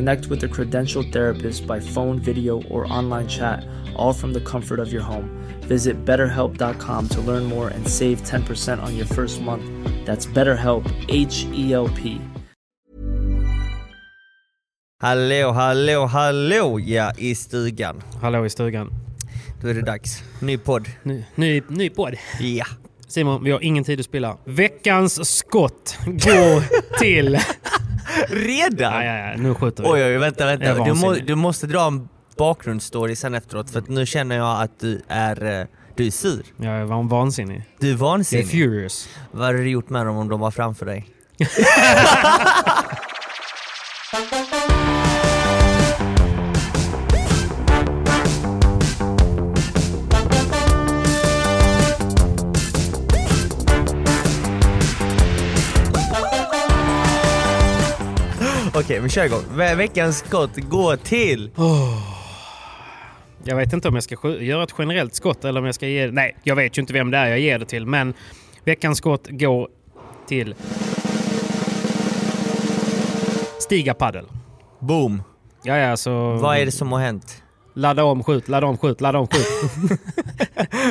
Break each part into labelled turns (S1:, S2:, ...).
S1: Connect with a credentialed therapist by phone, video, or online chat, all from the comfort of your home. Visit betterhelp.com to learn more and save 10% on your first month. That's BetterHelp, H E L P.
S2: Hallå, hallå, hallå ja, i stugan.
S3: Hallå i stugan.
S2: Då är det dags. Ny podd.
S3: Ny, ny, ny podd.
S2: Ja.
S3: Simon, vi har ingen tid att spilla. Veckans skott går till...
S2: Redan?
S3: Nej, nej, nej, nu skjuter vi.
S2: Oj, oj, vänta,
S3: Jag är
S2: vänta. Du, må,
S3: vansinnig.
S2: du måste dra en bakgrundsstory sen efteråt för att nu känner jag att du är, eh, du är sur.
S3: Jag var vansinnig.
S2: Du är
S3: Jag är
S2: vansinnig.
S3: furious.
S2: Vad hade du gjort med dem om de var framför dig? Okej, vi kör igång. Ve- Veckans skott går till...
S3: Jag vet inte om jag ska skj- göra ett generellt skott eller om jag ska ge det... Nej, jag vet ju inte vem det är jag ger det till, men veckans skott går till... Stiga Paddel.
S2: Boom!
S3: Ja, ja, så...
S2: Vad är det som har hänt?
S3: Ladda om, skjut, ladda om, skjut, ladda om, skjut.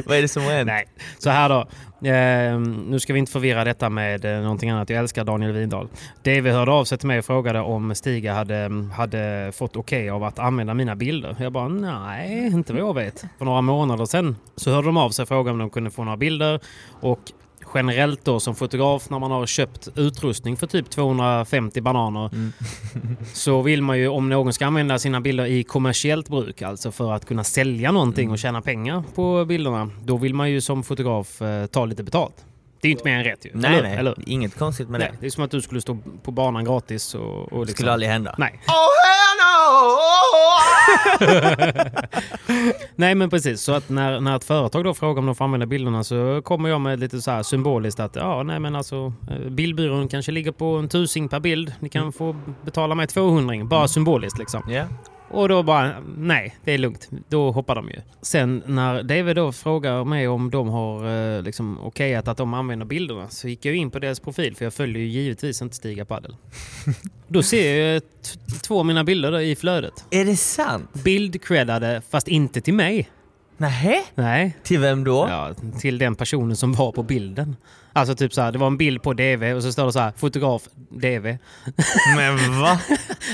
S2: Vad är det som har hänt?
S3: Nej, så här då. Eh, nu ska vi inte förvirra detta med eh, någonting annat. Jag älskar Daniel Windahl. Dave hörde av sig till mig och frågade om Stiga hade, mm, hade fått okej av att använda mina bilder. Jag bara nej, inte vad jag vet. För några månader sedan så hörde de av sig och frågade om de kunde få några bilder. Och generellt då som fotograf när man har köpt utrustning för typ 250 bananer så vill man ju om någon ska använda sina bilder i kommersiellt bruk, alltså för att kunna sälja någonting
S2: Mm.
S3: och tjäna pengar på bilderna, då vill man ju som fotograf eh, ta lite betalt. Det är ju inte mer än rätt ju.
S2: Nej,
S3: eller,
S2: nej.
S3: Eller?
S2: Inget konstigt med
S3: nej.
S2: det.
S3: Det är som att du skulle stå på banan gratis och... och
S2: Det
S3: liksom.
S2: skulle aldrig hända.
S3: Nej.
S2: Oh, hell no!
S3: Nej men precis, så att när, när ett företag då frågar om de får använda bilderna så kommer jag med lite så här symboliskt att ja, nej men alltså eh, bildbyrån kanske ligger på en tusing per bild. Ni
S2: Mm.
S3: kan få betala mig 200 bara symboliskt liksom.
S2: Ja.
S3: Och då bara, nej, det är lugnt. Då hoppar de ju. Sen när David då frågar mig om de har eh, liksom, okejat att de använder bilderna så gick jag in på deras profil för jag följer ju givetvis inte Stiga Paddel. då ser jag ju t- två av mina bilder där i flödet.
S2: Är det sant?
S3: Bildcreddade, fast inte till mig.
S2: Nähä?
S3: Nej,
S2: Till vem då?
S3: ja, till den personen som var på bilden. Alltså typ så här, det var en bild på DV och så står det så här, fotograf DV.
S2: Men va?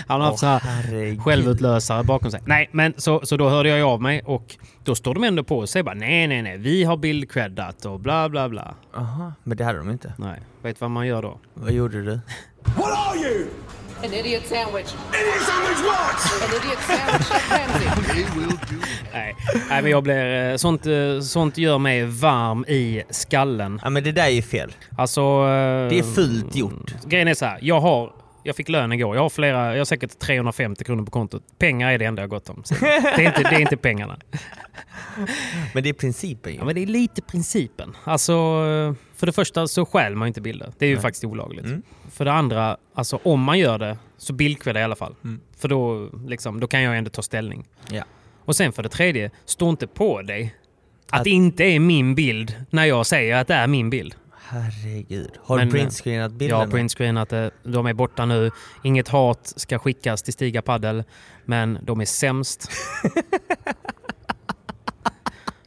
S3: Han har haft så här
S2: herregud.
S3: självutlösare bakom sig. Nej, men så, så då hörde jag ju av mig och då står de ändå på och säger bara nej, nej, nej, vi har bildcreddat och bla, bla, bla.
S2: Aha, men det hade de inte.
S3: Nej, vet vad man gör då?
S2: Vad gjorde du?
S4: What are you?
S5: An idiot sandwich.
S4: Idiot sandwich what?
S5: An idiot sandwich chimpanzee.
S3: Nej, nej men jag blir... eh, Sånt, eh, sånt gör mig varm i skallen.
S2: Ja men det där är ju fel.
S3: Alltså...
S2: Det är fult gjort.
S3: Grejen är så här, jag har... Jag fick lön igår. Jag har, flera, jag har säkert 350 kronor på kontot. Pengar är det enda jag har gått om. Så det, är inte, det är inte pengarna.
S2: Men det är principen ju.
S3: Ja, men det är lite principen. Alltså, för det första så stjäl man ju inte bilder. Det är ju faktiskt olagligt. För det andra, alltså om man gör det så bildkväll i alla fall. För då, liksom, då kan jag ändå ta ställning.
S2: Ja.
S3: Och sen för det tredje, stå inte på dig att,
S2: Att-
S3: det inte är min bild när jag säger att det är min bild.
S2: Herregud. Har
S3: Men,
S2: du
S3: eh,
S2: printscreenat bilderna?
S3: Jag har printscreenat det. eh, De är borta nu. Inget hat ska skickas till Stiga Paddel, men de är sämst.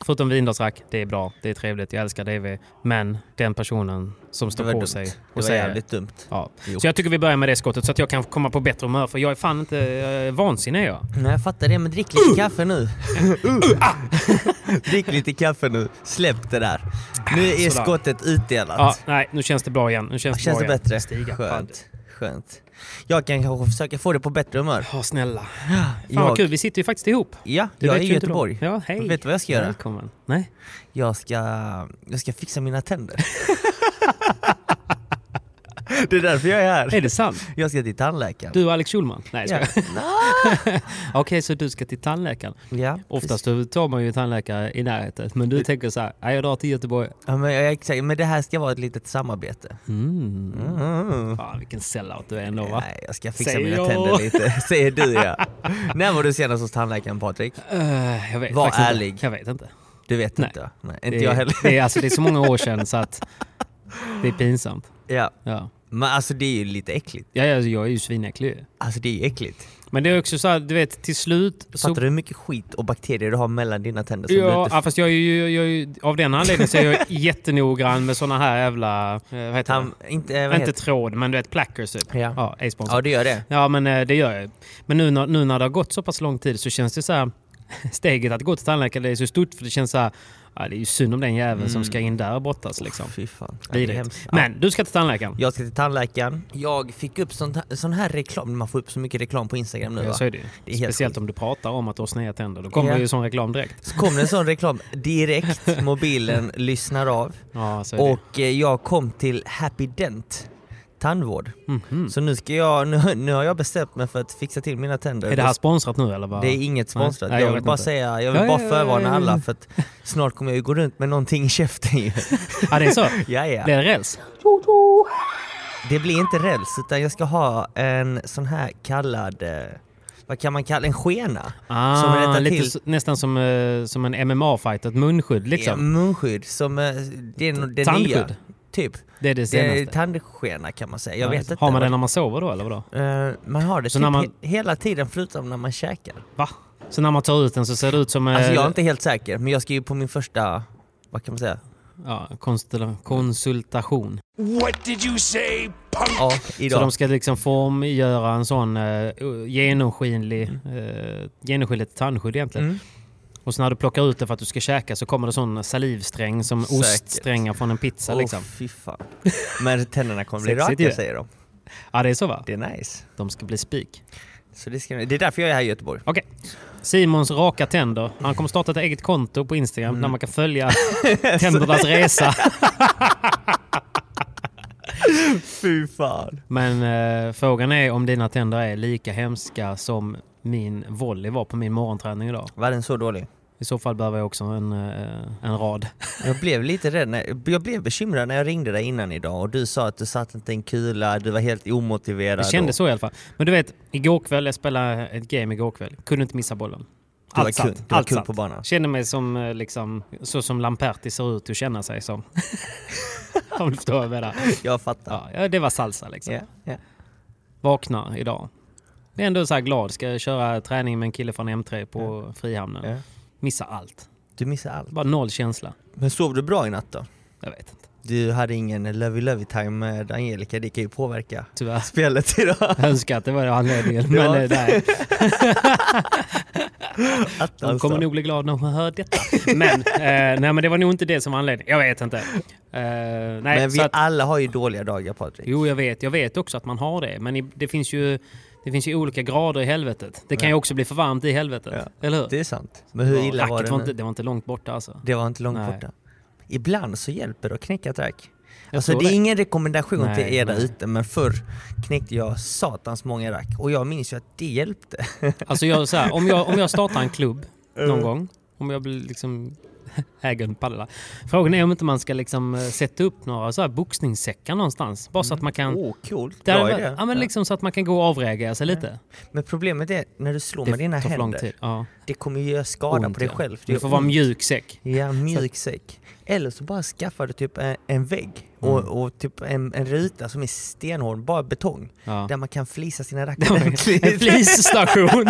S3: Förutom vindalsrack, det är bra, det är trevligt, jag älskar DV. Men den personen som
S2: Det
S3: står
S2: var
S3: på
S2: dumt.
S3: sig
S2: Det
S3: och
S2: var
S3: säger...
S2: jävligt dumt.
S3: Ja.
S2: Jo.
S3: Så jag tycker vi börjar med det skottet så att jag kan komma på bättre humör för jag är fan inte eh, vansinnig är jag.
S2: Nej jag fattar det men drick lite kaffe nu. drick lite kaffe nu. Släpp det där. Nu är
S3: Sådär.
S2: skottet utdelat.
S3: Ja, nej, nu känns det bra igen. Nu känns det,
S2: Känns
S3: bra
S2: det
S3: igen.
S2: bättre?
S3: Stiga Paddel.
S2: Skönt. Skönt. Jag kan kanske försöka få det på bättre humör.
S3: Ja, snälla. Fan
S2: Jag-
S3: vad kul, vi sitter ju faktiskt ihop.
S2: Ja,
S3: Det
S2: jag är
S3: vet
S2: i
S3: ju inte de.
S2: Göteborg.
S3: Ja, hej.
S2: Vet du vad jag ska göra?
S3: Välkommen. Nej.
S2: Jag ska, jag ska fixa mina tänder. det är därför jag är här.
S3: Är det sant?
S2: Jag ska till tandläkaren.
S3: Du och Alex Schulman? Nej, jag
S2: ja.
S3: skojar. Okej, så du ska till tandläkaren.
S2: ja. Mm.
S3: Oftast då tar man ju tandläkare i närheten, men du tänker så här, "Nej, jag drar till Göteborg.
S2: Ja, men, jag är exakt, men det här ska vara ett litet samarbete. Mm.
S3: Fan vilken sellout du är ändå va?
S2: Nej, jag ska fixa
S3: Säger
S2: mina
S3: jag.
S2: tänder lite. Säger du ja. När var du senast hos tandläkaren Patrik?
S3: Eh, jag vet
S2: Var
S3: faktiskt
S2: ärlig.
S3: Inte. Jag vet inte.
S2: Du vet
S3: Nej.
S2: inte va? Nej, inte
S3: det, är-
S2: jag heller.
S3: Det är, alltså, det är så många år sedan så att det är pinsamt.
S2: Ja.
S3: Ja.
S2: Men alltså det är ju lite äckligt.
S3: Jag, jag, jag är ju svinäcklig ju.
S2: Alltså det är ju äckligt.
S3: Men det är också så här, du vet till slut... Så,
S2: Fattar du hur mycket skit och bakterier du har mellan dina tänder? Som du
S3: ja,
S2: inte...
S3: ja, fast jag är ju, jag är ju... Av den anledningen så är jag jättenoggrann med såna här jävla... eh, Vad heter
S2: Tam... Inte,
S3: det?
S2: vad
S3: Inte
S2: heter...
S3: tråd, men du vet plackers typ.
S2: Ja.
S3: Ja, A-sponsor.
S2: ja, du gör det.
S3: Ja, men eh, det gör jag. ju. Men nu när, nu när det har gått så pass lång tid så känns det så här... Steget att gå till tandläkaren det är så stort för det känns så här... Ja, det är ju synd om den jäveln som ska in där och brottas liksom.
S2: Mm. Fy fan. Ja, det är hemskt.
S3: Vidrigt. Men du ska till tandläkaren.
S2: Jag ska till tandläkaren. Jag fick upp sån, sån här reklam. Man får upp så mycket reklam på Instagram nu
S3: Ja,
S2: va?
S3: så är det, ju.
S2: Det är helt
S3: Speciellt
S2: sjukt.
S3: om du pratar om att du har sneda tänder. Då kommer
S2: Ja.
S3: ju sån reklam direkt.
S2: Så kom det en sån reklam direkt. Mobilen lyssnar av.
S3: Ja, så är det.
S2: Och eh, jag kom till Happy Dent tandvård.
S3: Mhm.
S2: Så nu, ska jag, nu, nu har jag bestämt mig för att fixa till mina tänder.
S3: Är det här sponsrat nu eller? Vad?
S2: eh, Det är inget sponsrat.
S3: Nej, jag
S2: jag vill
S3: vet
S2: bara
S3: inte.
S2: säga, jag vill
S3: Ja,
S2: bara
S3: ja, ja,
S2: förvarna
S3: ja, ja.
S2: alla för att snart kommer jag ju gå runt med någonting i käften ju.
S3: Ja, det är så?
S2: ja, ja.
S3: Blir det räls?
S2: Det blir inte räls utan jag ska ha en sån här kallad, eh, vad kan man kalla en skena? som
S3: Ah,
S2: rättar
S3: lite,
S2: till
S3: s- nästan som, eh, som en MMA-fight, ett munskydd
S2: ja,
S3: liksom.
S2: eh, munskydd som eh, det är nog det
S3: Tandskydd?
S2: nya. Typ.
S3: Det är det
S2: Det är
S3: senaste.
S2: tandskena kan man säga. Jag vet inte.
S3: har man
S2: vad-
S3: det när man sover då eller vadå?
S2: Eh, man har det
S3: Så
S2: typ
S3: när man- Eh,
S2: he- hela tiden förutom när man käkar.
S3: Va? Så när man tar ut den så ser det ut som... eh,
S2: Alltså jag är inte helt säker, men jag ska ju på min första, vad kan man säga?
S3: ja, konstella- konsultation.
S4: What did you say, punk?
S2: Ja,
S3: Så de
S2: idag.
S3: ska liksom formgöra en sån eh, genomskinlig, eh, genomskinligt tandskydd egentligen.
S2: Mm.
S3: Och så när du plockar ut det för att du ska käka så kommer det sån salivsträng som
S2: Säkert.
S3: oststrängar från en pizza
S2: Åh,
S3: liksom.
S2: fy fan. Men tänderna kommer bli
S3: Sexigt
S2: raka
S3: ju.
S2: säger de.
S3: Ja, det är så va?
S2: Det är nice.
S3: De ska bli spik.
S2: Så det, ska, det är därför jag är här i Göteborg.
S3: Okej. Simons raka tänder. Han kommer starta ett eget konto på Instagram
S2: Mm.
S3: där man kan följa tändernas resa.
S2: Fy fan.
S3: Men eh, frågan är om dina tänder är lika hemska som min volley var på min morgonträning idag.
S2: Var den så dålig?
S3: I så fall behöver jag också en, eh, en rad.
S2: Jag blev lite rädd, när, jag blev bekymrad när jag ringde dig innan idag och du sa att du satt inte en kula, du var helt omotiverad.
S3: Det kändes
S2: och,
S3: så i alla fall. Men du vet, igår kväll, jag spelade ett game igår kväll. Kunde inte missa bollen.
S2: Du var
S3: Allt
S2: kung.
S3: satt.
S2: Du var
S3: Allt
S2: kung
S3: satt.
S2: på banan.
S3: Kände mig som, eh, liksom, så som Lamperti ser ut att känna sig som. Om du förstår vad jag menar.
S2: Jag fattar.
S3: Ja, ja, det var salsa liksom.
S2: Ja, ja.
S3: Vaknar idag. Jag är ändå så här glad. Ska jag köra träning med en kille från M3 på Frihamnen.
S2: Ja.
S3: Missar allt.
S2: Du missade allt.
S3: Bara noll känsla.
S2: Men sov du bra i natt då?
S3: Jag vet inte.
S2: Du hade ingen lovey lovey time med Angelica, det kan ju påverka
S3: Tyvärr.
S2: spelet idag.
S3: Jag önskar att det var anledningen. Men
S2: var-
S3: eh, nej. De
S2: Alltså.
S3: kommer nog bli glada när de hör detta. Men, eh, nej, men det var nog inte det som var anledningen. Jag vet inte. Eh, nej,
S2: Men vi
S3: så att,
S2: alla har ju dåliga dagar Patrik.
S3: jo, jag vet. Jag vet också att man har det. Men i- det finns ju, det finns ju olika grader i helvetet. Det kan ju också bli för varmt i helvetet.
S2: Ja.
S3: Eller hur?
S2: Det är sant. Men hur illa
S3: Racket
S2: var det
S3: var
S2: nu?
S3: inte, det var inte långt borta alltså.
S2: Det var inte långt
S3: Nej.
S2: borta. Ibland så hjälper det att knäcka ett rack. Alltså
S3: tror
S2: det är
S3: det.
S2: ingen rekommendation
S3: Nej,
S2: till er där
S3: nej.
S2: ute men förr knäckte jag satans många rack och jag minns ju att det hjälpte.
S3: Alltså jag, så här, om, jag, om jag startar en klubb någon gång. Om jag blir liksom äger en padel. Frågan är om inte man ska liksom eh, sätta upp några så här boxningssäckar någonstans. Bara så att man kan...
S2: Åh, oh, coolt.
S3: Där-
S2: Bra idé.
S3: ja, men liksom så att man kan gå och avreagera sig lite.
S2: Men problemet är, när du slår med dina
S3: tar för lång
S2: händer,
S3: tid. Ja.
S2: det kommer ju göra skada
S3: Ont,
S2: på dig
S3: ja.
S2: själv.
S3: Det
S2: gör
S3: får vara
S2: ont.
S3: mjuk säck.
S2: Ja, mjuk säck. Eller så bara skaffar du typ en, en vägg och,
S3: Mm.
S2: och typ en, en ruta som är stenhård, bara betong.
S3: Ja.
S2: Där man kan flisa sina rackare
S3: En
S2: ordentligt.
S3: flisstation.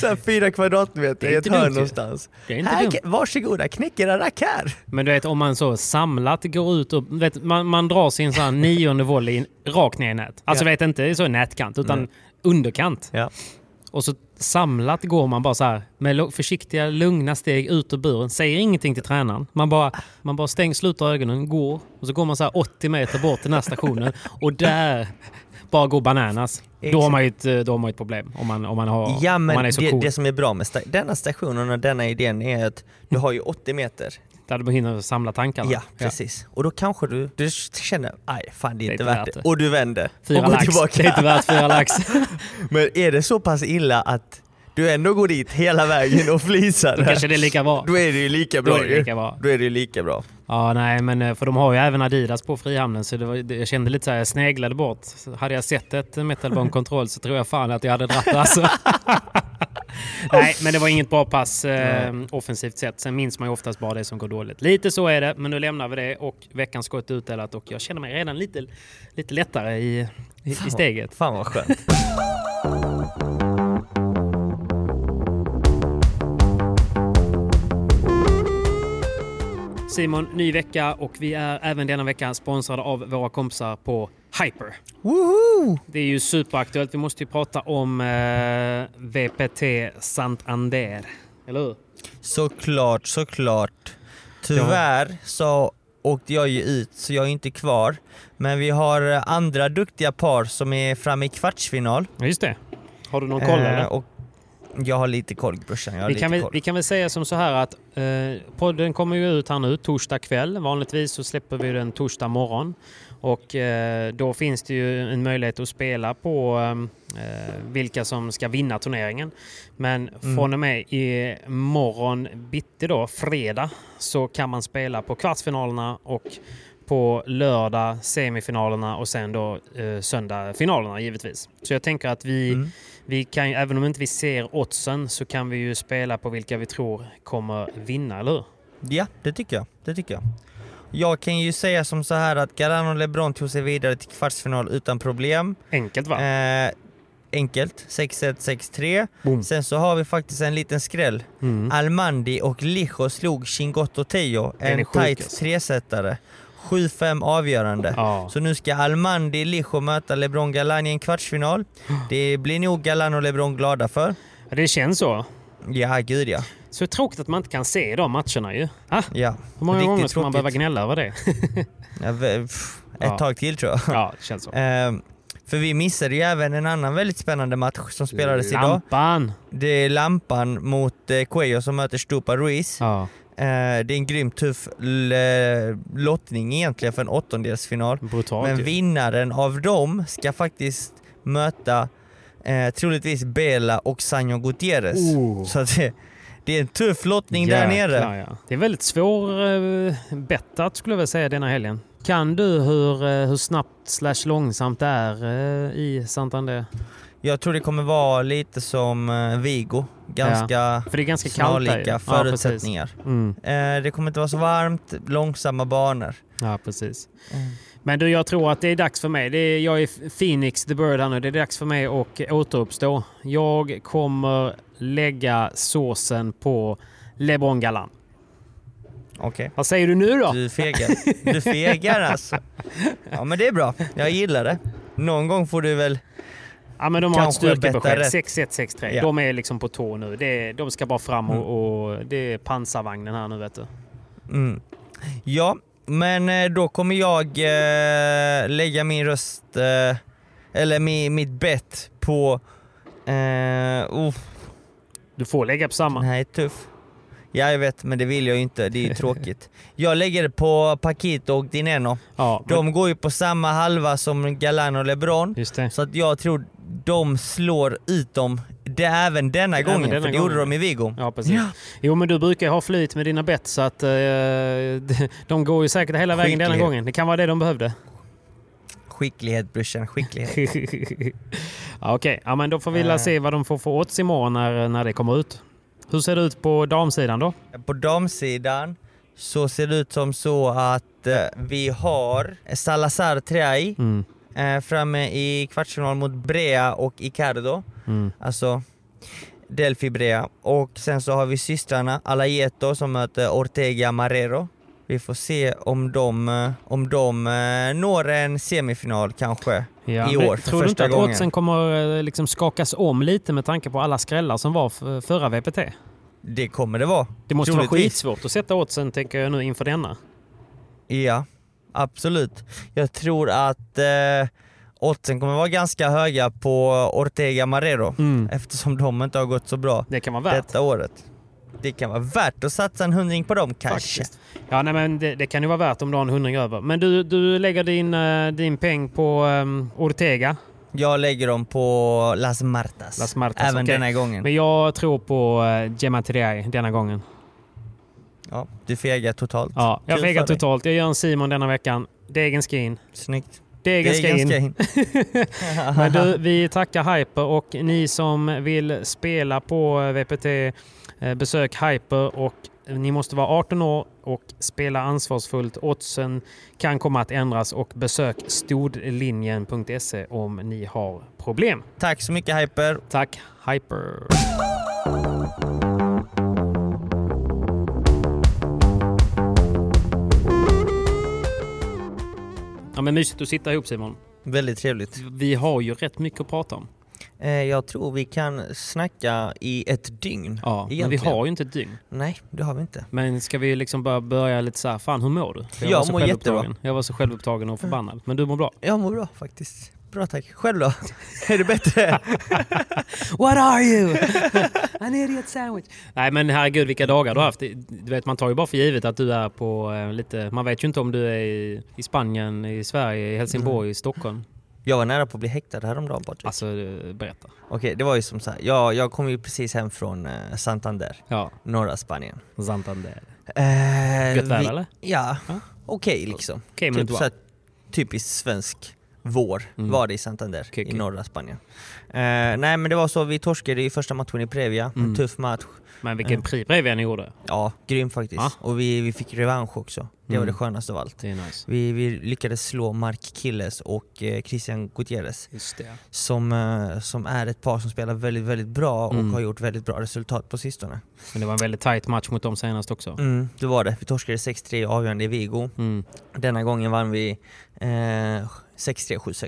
S2: Så här fyra kvadratmeter
S3: Det är
S2: i ett
S3: inte
S2: hörn
S3: dumt ju.
S2: någonstans.
S3: Det är inte
S2: här,
S3: dumt.
S2: kan- varsågoda, knäck era rack här!
S3: Men du vet om man så samlat går ut och vet, man, man drar sin så här nionde volley in- rakt ner i nät. Alltså
S2: Ja.
S3: vet inte så i nätkant utan
S2: Nej.
S3: underkant.
S2: Ja.
S3: Och så samlat går man bara så här med lo- försiktiga lugna steg ut ur buren. Säger ingenting till tränaren. Man bara, man bara stänger, sluter ögonen, går och så går man så här 80 meter bort till den här stationen och där bara går bananas. Då har, man ju ett, då har man ju ett problem om man, om man, har,
S2: Ja
S3: om
S2: men
S3: man är så
S2: det,
S3: cool.
S2: det som är bra med sta- denna stationen och denna idén är att du har ju 80 meter.
S3: Där du hinner samla tankarna.
S2: Ja precis. Och då kanske du, du känner nej fan det är inte värt det. Och du vänder och
S3: Fyra
S2: går
S3: lax. Det är inte
S2: tillbaka.
S3: värt fyra lax.
S2: Men är det så pass illa att du ändå går dit hela vägen och flisar?
S3: Då kanske det är lika bra.
S2: Då är det ju lika bra
S3: Då är det
S2: ju.
S3: lika bra.
S2: Då är det ju lika bra.
S3: Ja, nej, men eh, för de har ju även Adidas på Frihamnen så det var, det- jag kände lite så här, jag sneglade bort. Så hade jag sett ett metalbone control så tror jag fan att jag hade dratt det, alltså. Nej, men det var inget bra pass eh, offensivt sett. Sen minns man ju oftast bara det som går dåligt. Lite så är det, men nu lämnar vi det och veckans skott är utdelat och jag känner mig redan lite, lite lättare i, i, i steget.
S2: Fan vad skönt.
S3: Simon, ny vecka och vi är även denna vecka sponsrade av våra kompisar på Hyper.
S2: Woho!
S3: Det är ju superaktuellt. Vi måste ju prata om eh, VPT Santander. Eller hur?
S2: Såklart, såklart. Tyvärr så åkte jag ju ut så jag är inte kvar. Men vi har eh, andra duktiga par som är framme i kvartsfinal.
S3: Ja, just det. Har du någon koll
S2: Eh,
S3: eller?
S2: och jag har lite koll brorsan, jag har
S3: Vi
S2: lite
S3: kan, väl,
S2: koll.
S3: vi kan väl säga som så här att eh, podden kommer ju ut här nu torsdag kväll. Vanligtvis så släpper vi den torsdag morgon. Och eh, då finns det ju en möjlighet att spela på eh, eh, vilka som ska vinna turneringen. Men
S2: Mm.
S3: från och med i morgon bitti då, fredag, så kan man spela på kvartsfinalerna och på lördag semifinalerna och sen då eh, söndag finalerna givetvis. Så jag tänker att vi,
S2: Mm.
S3: vi kan ju, även om inte vi ser oddsen så kan vi ju spela på vilka vi tror kommer vinna, eller hur?
S2: Ja, det tycker jag. Det tycker jag. Jag kan ju säga som så här att Garano och LeBron tog sig vidare till kvartsfinal utan problem.
S3: Enkelt va?
S2: Eh, enkelt, 6-1, 6-3. Sen så har vi faktiskt en liten skräll.
S3: Mm.
S2: Almandi och Lijo slog Chingotto Tejo,
S3: är
S2: en
S3: sjuk,
S2: tight
S3: alltså.
S2: tresetare. 7-5 avgörande.
S3: Ja.
S2: Så nu ska Almandi Lijo möta LeBron Galan i en kvartsfinal. Det blir nog Galan och LeBron glada för.
S3: Ja, Det känns så.
S2: Ja, gud ja.
S3: Så tråkigt att man inte kan se de matcherna ju. Ah,
S2: ja.
S3: hur många
S2: Riktigt
S3: gånger ska
S2: tråkigt.
S3: man behöva gnälla över det?
S2: Ja, v- pff, ett
S3: Ja.
S2: tag till tror jag.
S3: ja, det känns så.
S2: Ehm, för vi missade ju även en annan väldigt spännande match som spelades idag.
S3: Lampan!
S2: Det är Lampan mot eh, Cuello som möter Stupa Ruiz.
S3: Ja,
S2: Eh, det är en grymt tuff l- eh, lottning egentligen för en åttondelsfinal.
S3: brutalt
S2: Men
S3: ju.
S2: vinnaren av dem ska faktiskt möta eh, troligtvis Bela och Sanjo Gutierrez.
S3: Oh.
S2: Så att det, det är en tuff lottning där
S3: Jäklar,
S2: nere.
S3: Ja. Det är väldigt svårbettat skulle jag vilja säga denna helgen. Kan du hur, eh, hur snabbt slash långsamt det är eh, i Santander?
S2: Jag tror det kommer vara lite som eh, Vigo. Ganska
S3: För det är ganska kallt där ju.
S2: snarlika förutsättningar.
S3: Ja, precis. Mm.
S2: Eh, det kommer inte vara så varmt, långsamma banor.
S3: Ja, precis.
S2: Mm.
S3: Men du, jag tror att det är dags för mig. Det är, jag är Phoenix the Bird här nu. Det är dags för mig att återuppstå. Jag kommer lägga såsen på LeBron Galan.
S2: Okej.
S3: Vad säger du nu då?
S2: Du fegar. Du fegar alltså. Ja men det är bra. Jag gillar det. Någon gång får du väl...
S3: Ja, men de har ett
S2: Kanske bättre
S3: styrkebesked.
S2: rätt.
S3: 6163.
S2: Ja.
S3: De är liksom på tå nu. Det, de ska bara fram och, och det är pansarvagnen här nu vet du.
S2: Mm. Ja, men eh, då kommer jag eh, lägga min röst... Eh, eller mi, mitt bett på... Eh, oh,
S3: Du får lägga på samma.
S2: den här är tuff. Ja jag vet, men det vill jag ju inte. Det är ju tråkigt. Jag lägger det på Paquito och Dineno.
S3: Ja, men-
S2: De går ju på samma halva som Galan och LeBron.
S3: just det.
S2: Så att jag tror de slår ut dem det även denna
S3: Även
S2: gången,
S3: denna
S2: för det gjorde
S3: gången.
S2: de i Vigo.
S3: Ja, precis. Jo, men du brukar ju ha flyt med dina bett så att eh, de- de går ju säkert hela vägen denna
S2: Skicklighet.
S3: gången. Det kan vara det de behövde.
S2: Skicklighet brorsan, skicklighet.
S3: ja, Okej, ja, men då får vi
S2: Eh.
S3: väl se vad de får för odds imorgon när, när det kommer ut. Hur ser det ut på damsidan då?
S2: På damsidan så ser det ut som så att eh, vi har Salazar Triay
S3: Mm.
S2: eh, framme i kvartsfinal mot Brea och Icardo.
S3: Mm.
S2: Alltså Delphi Brea. Och sen så har vi systrarna Alayeto som möter Ortega Marrero. Vi får se om de, eh, om de eh, når en semifinal kanske
S3: Ja.
S2: i år för
S3: Tror du inte
S2: första
S3: att
S2: gången.
S3: oddsen kommer eh, liksom skakas om lite med tanke på alla skrällar som var f- förra VPT?
S2: Det kommer det vara.
S3: Det måste vara
S2: Troligtvis.
S3: skitsvårt att sätta oddsen tänker jag nu inför denna.
S2: Ja, absolut. Jag tror att eh, oddsen kommer vara ganska höga på Ortega Marrero eftersom de inte har gått så bra
S3: Det kan vara Mm. värt.
S2: detta året. Det kan vara värt att satsa en hundring på dem kanske.
S3: Faktiskt. Ja, nej, men det, det kan ju vara värt om du har en hundring över. Men du, du lägger din, eh, din peng på ehm, Ortega.
S2: Mm. Jag lägger dem på Las Martas.
S3: Las Martas,
S2: Även
S3: okej.
S2: denna gången.
S3: Men jag tror på uh, Gemma Triay denna gången.
S2: Ja, du fegar totalt.
S3: Ja, jag
S2: Kul
S3: fegar
S2: för dig.
S3: totalt. Jag gör en Simon denna veckan. Degen ska in.
S2: Snyggt.
S3: Degen ska in.
S2: ganska in.
S3: Men du, vi tackar Hyper och ni som vill spela på eh, VPT eh, besök Hyper och ni måste vara 18 år och spela ansvarsfullt. Oddsen kan komma att ändras och besök stordlinjen.se E om ni har problem.
S2: Tack så mycket Hyper.
S3: Tack Hyper! Ja, men mysigt att sitta ihop Simon.
S2: Väldigt trevligt.
S3: Vi har ju rätt mycket att prata om.
S2: Eh, jag tror vi kan snacka i ett dygn.
S3: Ja, men vi
S2: egentligen.
S3: har ju inte ett dygn.
S2: Nej, det har vi inte.
S3: Men ska vi liksom bara börja lite så här, fan hur mår du? För
S2: Jag
S3: var så
S2: mår
S3: självupptagen.
S2: jättebra.
S3: Jag var så självupptagen och förbannad. Men du mår bra.
S2: Jag mår bra faktiskt. Bra tack. Själv då? Är det bättre?
S3: What are you? An idiot sandwich. Nej men herregud vilka dagar du har haft. Du vet man tar ju bara för givet att du är på eh, lite, man vet ju inte om du är i, i Spanien, i Sverige, i Helsingborg, i Stockholm.
S2: Jag var nära på att bli häktad häromdagen Patrik.
S3: Alltså eh, berätta.
S2: Okej, det var ju som så här. Jag, jag kom ju precis hem från eh, Santander,
S3: Ja,
S2: norra Spanien.
S3: Santander.
S2: Eh,
S3: Gött väder
S2: vi-
S3: eller?
S2: Ja,
S3: Ja.
S2: okej liksom.
S3: Okej men
S2: Typ
S3: du
S2: så här, typiskt svensk vår
S3: Mm.
S2: var det i Santander
S3: Okej,
S2: i
S3: okej.
S2: norra Spanien. Eh, nej men det var så, vi torskade i första matchen i Previa, en
S3: Mm.
S2: tuff match.
S3: Men vilken pribrev ni gjorde.
S2: Ja, grym faktiskt.
S3: Ja.
S2: Och vi, vi fick revansch också. Det var
S3: Mm.
S2: det skönaste av allt.
S3: Det är nice.
S2: Vi, vi lyckades slå Mark Killes och eh, Christian Gutierrez
S3: Just det.
S2: som, eh, som är ett par som spelar väldigt, väldigt bra och
S3: Mm.
S2: har gjort väldigt bra resultat på sistone.
S3: Men det var en väldigt tight match mot dem senast också.
S2: Mm, det var det. Vi torskade 6-3 i avgörande i Vigo.
S3: Mm.
S2: Denna gången vann vi eh, 6-3, 7-6.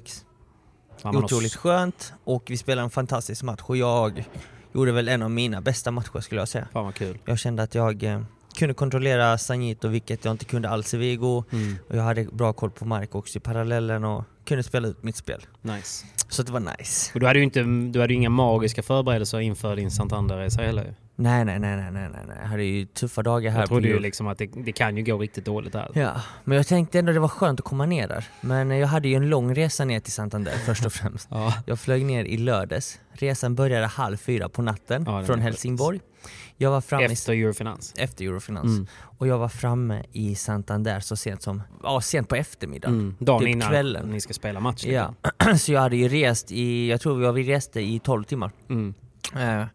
S3: Ja, man har-
S2: Otroligt skönt och vi spelade en fantastisk match och jag gjorde väl en av mina bästa matcher skulle jag säga.
S3: Fan vad kul.
S2: Jag kände att jag eh, kunde kontrollera Sanjito vilket jag inte kunde alls i Vigo.
S3: Mm.
S2: Och jag hade bra koll på Mark också i parallellen och kunde spela ut mitt spel.
S3: Nice.
S2: Så det var nice.
S3: Och du hade ju inte, du hade ju inga magiska förberedelser inför din Santander-resa heller. ju.
S2: Nej, nej, nej, nej, nej, nej, nej. Jag hade ju tuffa dagar här
S3: Jag trodde
S2: på
S3: ju
S2: jul.
S3: liksom att det, det kan ju gå riktigt dåligt där.
S2: Ja, men jag tänkte ändå det var skönt att komma ner där. Men eh, jag hade ju en lång resa ner till Santander först och främst.
S3: Ja.
S2: Jag flög ner i lördags. Resan började halv fyra på natten
S3: Ja, den
S2: från
S3: är
S2: Helsingborg. Jag var framme efter,
S3: Efter Eurofinans.
S2: i, efter Eurofinans.
S3: Mm.
S2: Och jag var framme i Santander så sent som, ja sent på eftermiddagen.
S3: Mm. Dagen
S2: Typ
S3: innan
S2: kvällen.
S3: ni ska spela match. liksom.
S2: Ja. Så jag hade ju rest i, jag tror jag- vi reste i 12 timmar.
S3: Mm.
S2: Eh,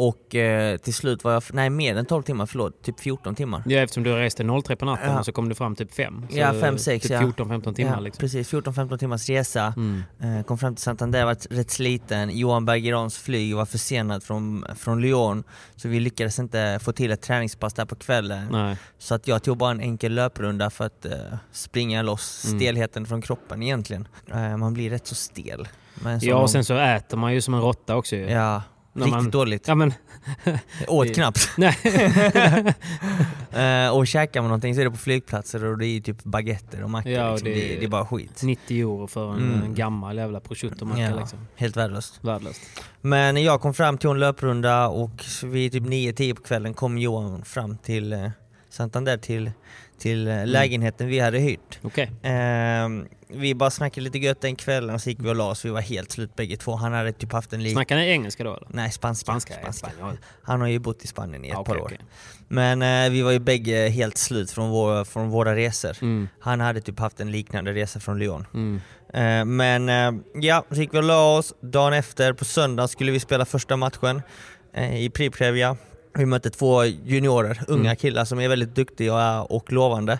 S2: och eh, till slut var jag, nej mer än 12 timmar, förlåt, typ 14 timmar.
S3: ja, eftersom du reste 03 på natten
S2: Ja.
S3: och så kom du fram typ 5.
S2: Ja, fem, sex,
S3: typ
S2: ja.
S3: 14-15 timmar
S2: ja,
S3: liksom.
S2: Precis, 14-15 timmars resa.
S3: Mm.
S2: Eh, Kom fram till Santander, var rätt sliten. Johan Bergerons flyg var försenat från, från Lyon. Så vi lyckades inte få till ett träningspass där på kvällen.
S3: Nej.
S2: Så att jag tog bara en enkel löprunda för att eh, springa loss
S3: Mm.
S2: stelheten från kroppen egentligen. Eh, man blir rätt så stel. Men
S3: Ja, och sen så äter man ju som en råtta också ju.
S2: Ja,
S3: typ. När
S2: riktigt
S3: man-
S2: dåligt.
S3: Ja, men,
S2: Jag åt knappt.
S3: nej.
S2: Eh, och käkar man någonting så är det på flygplatser och det är ju typ baguetter och mackor.
S3: Ja, och
S2: liksom.
S3: det-
S2: det... Det, är bara skit.
S3: 90 euro för en,
S2: Mm.
S3: en gammal jävla prosciuttomacka
S2: Ja,
S3: liksom.
S2: Helt värdelöst.
S3: Värdelöst.
S2: Men jag kom fram till en löprunda och vid typ 9-10 på kvällen kom Johan fram till eh, Santander till, till eh,
S3: Mm.
S2: lägenheten vi hade hyrt.
S3: Okej.
S2: Ehm, vi bara snackade lite gött den kvällen och så gick vi och la oss. Vi var helt slut bägge två. Han hade typ haft en lik...
S3: Snackar ni engelska då eller?
S2: Nej, spanska.
S3: Spanska, ja, spanjor.
S2: Han har ju bott i Spanien i ett
S3: Ah,
S2: par
S3: okej,
S2: år.
S3: okej.
S2: Men eh, vi var ju bägge helt slut från, vår, från våra resor.
S3: Mm.
S2: Han hade typ haft en liknande resa från Lyon. Eh, men eh, ja, så gick vi och la oss. Dagen efter, på söndagen, skulle vi spela första matchen eh, i Priprevia. Vi mötte två juniorer, unga
S3: Mm.
S2: killar som är väldigt duktiga och lovande.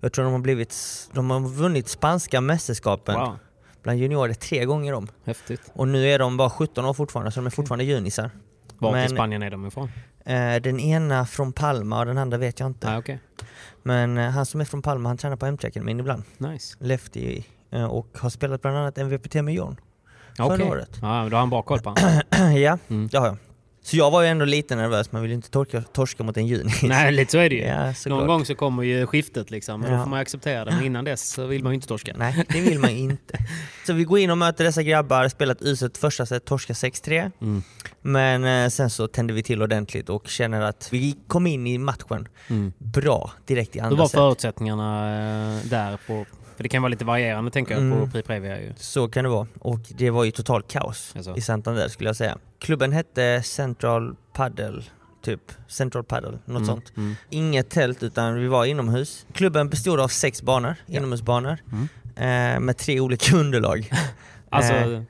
S2: Jag tror de har blivit, s- de har vunnit spanska mästerskapen
S3: Wow,
S2: bland juniorer tre gånger om.
S3: häftigt.
S2: Och nu är de bara 17 år fortfarande, så de är fortfarande junisar.
S3: Vart i
S2: Men-
S3: Spanien är de ifrån?
S2: Eh, den ena från Palma och den andra vet jag inte.
S3: Ah, okej.
S2: Men eh, han som är från Palma, han tränar på MT Akademin ibland.
S3: Nice.
S2: Lefty eh, och har spelat bland annat MVPT med John. Förra
S3: Okej.
S2: året.
S3: Ja, men då har han bra koll på han.
S2: ja,
S3: Mm.
S2: det har jag. Så jag var ju ändå lite nervös, man vill ju inte torka, torska mot en junis.
S3: Nej, lite så är det ju.
S2: Ja,
S3: Någon
S2: såklart.
S3: gång så kommer ju skiftet liksom. och Då
S2: Ja.
S3: får man acceptera det. Men innan dess så vill man ju inte torska.
S2: Nej, det vill man ju inte. Så vi går in och möter dessa grabbar, spelar ett uselt första set, torskar 6-3.
S3: Mm.
S2: Men eh, sen så tände vi till ordentligt och känner att vi kom in i matchen bra direkt i
S3: Hur
S2: andra
S3: Mm. var
S2: set.
S3: förutsättningarna eh, där? På, för det kan vara lite varierande tänker jag
S2: Mm.
S3: på Pri Previa ju.
S2: Så kan det vara. Och det var ju totalt kaos
S3: Jaså.
S2: i Santander skulle jag säga. Klubben hette Central Paddle, typ. Central Paddle, något
S3: Mm,
S2: sånt. Inget tält utan vi var inomhus. Klubben bestod av sex banor, inomhusbanor.
S3: Mm.
S2: Eh, med tre olika underlag.
S3: Alltså
S2: Eh.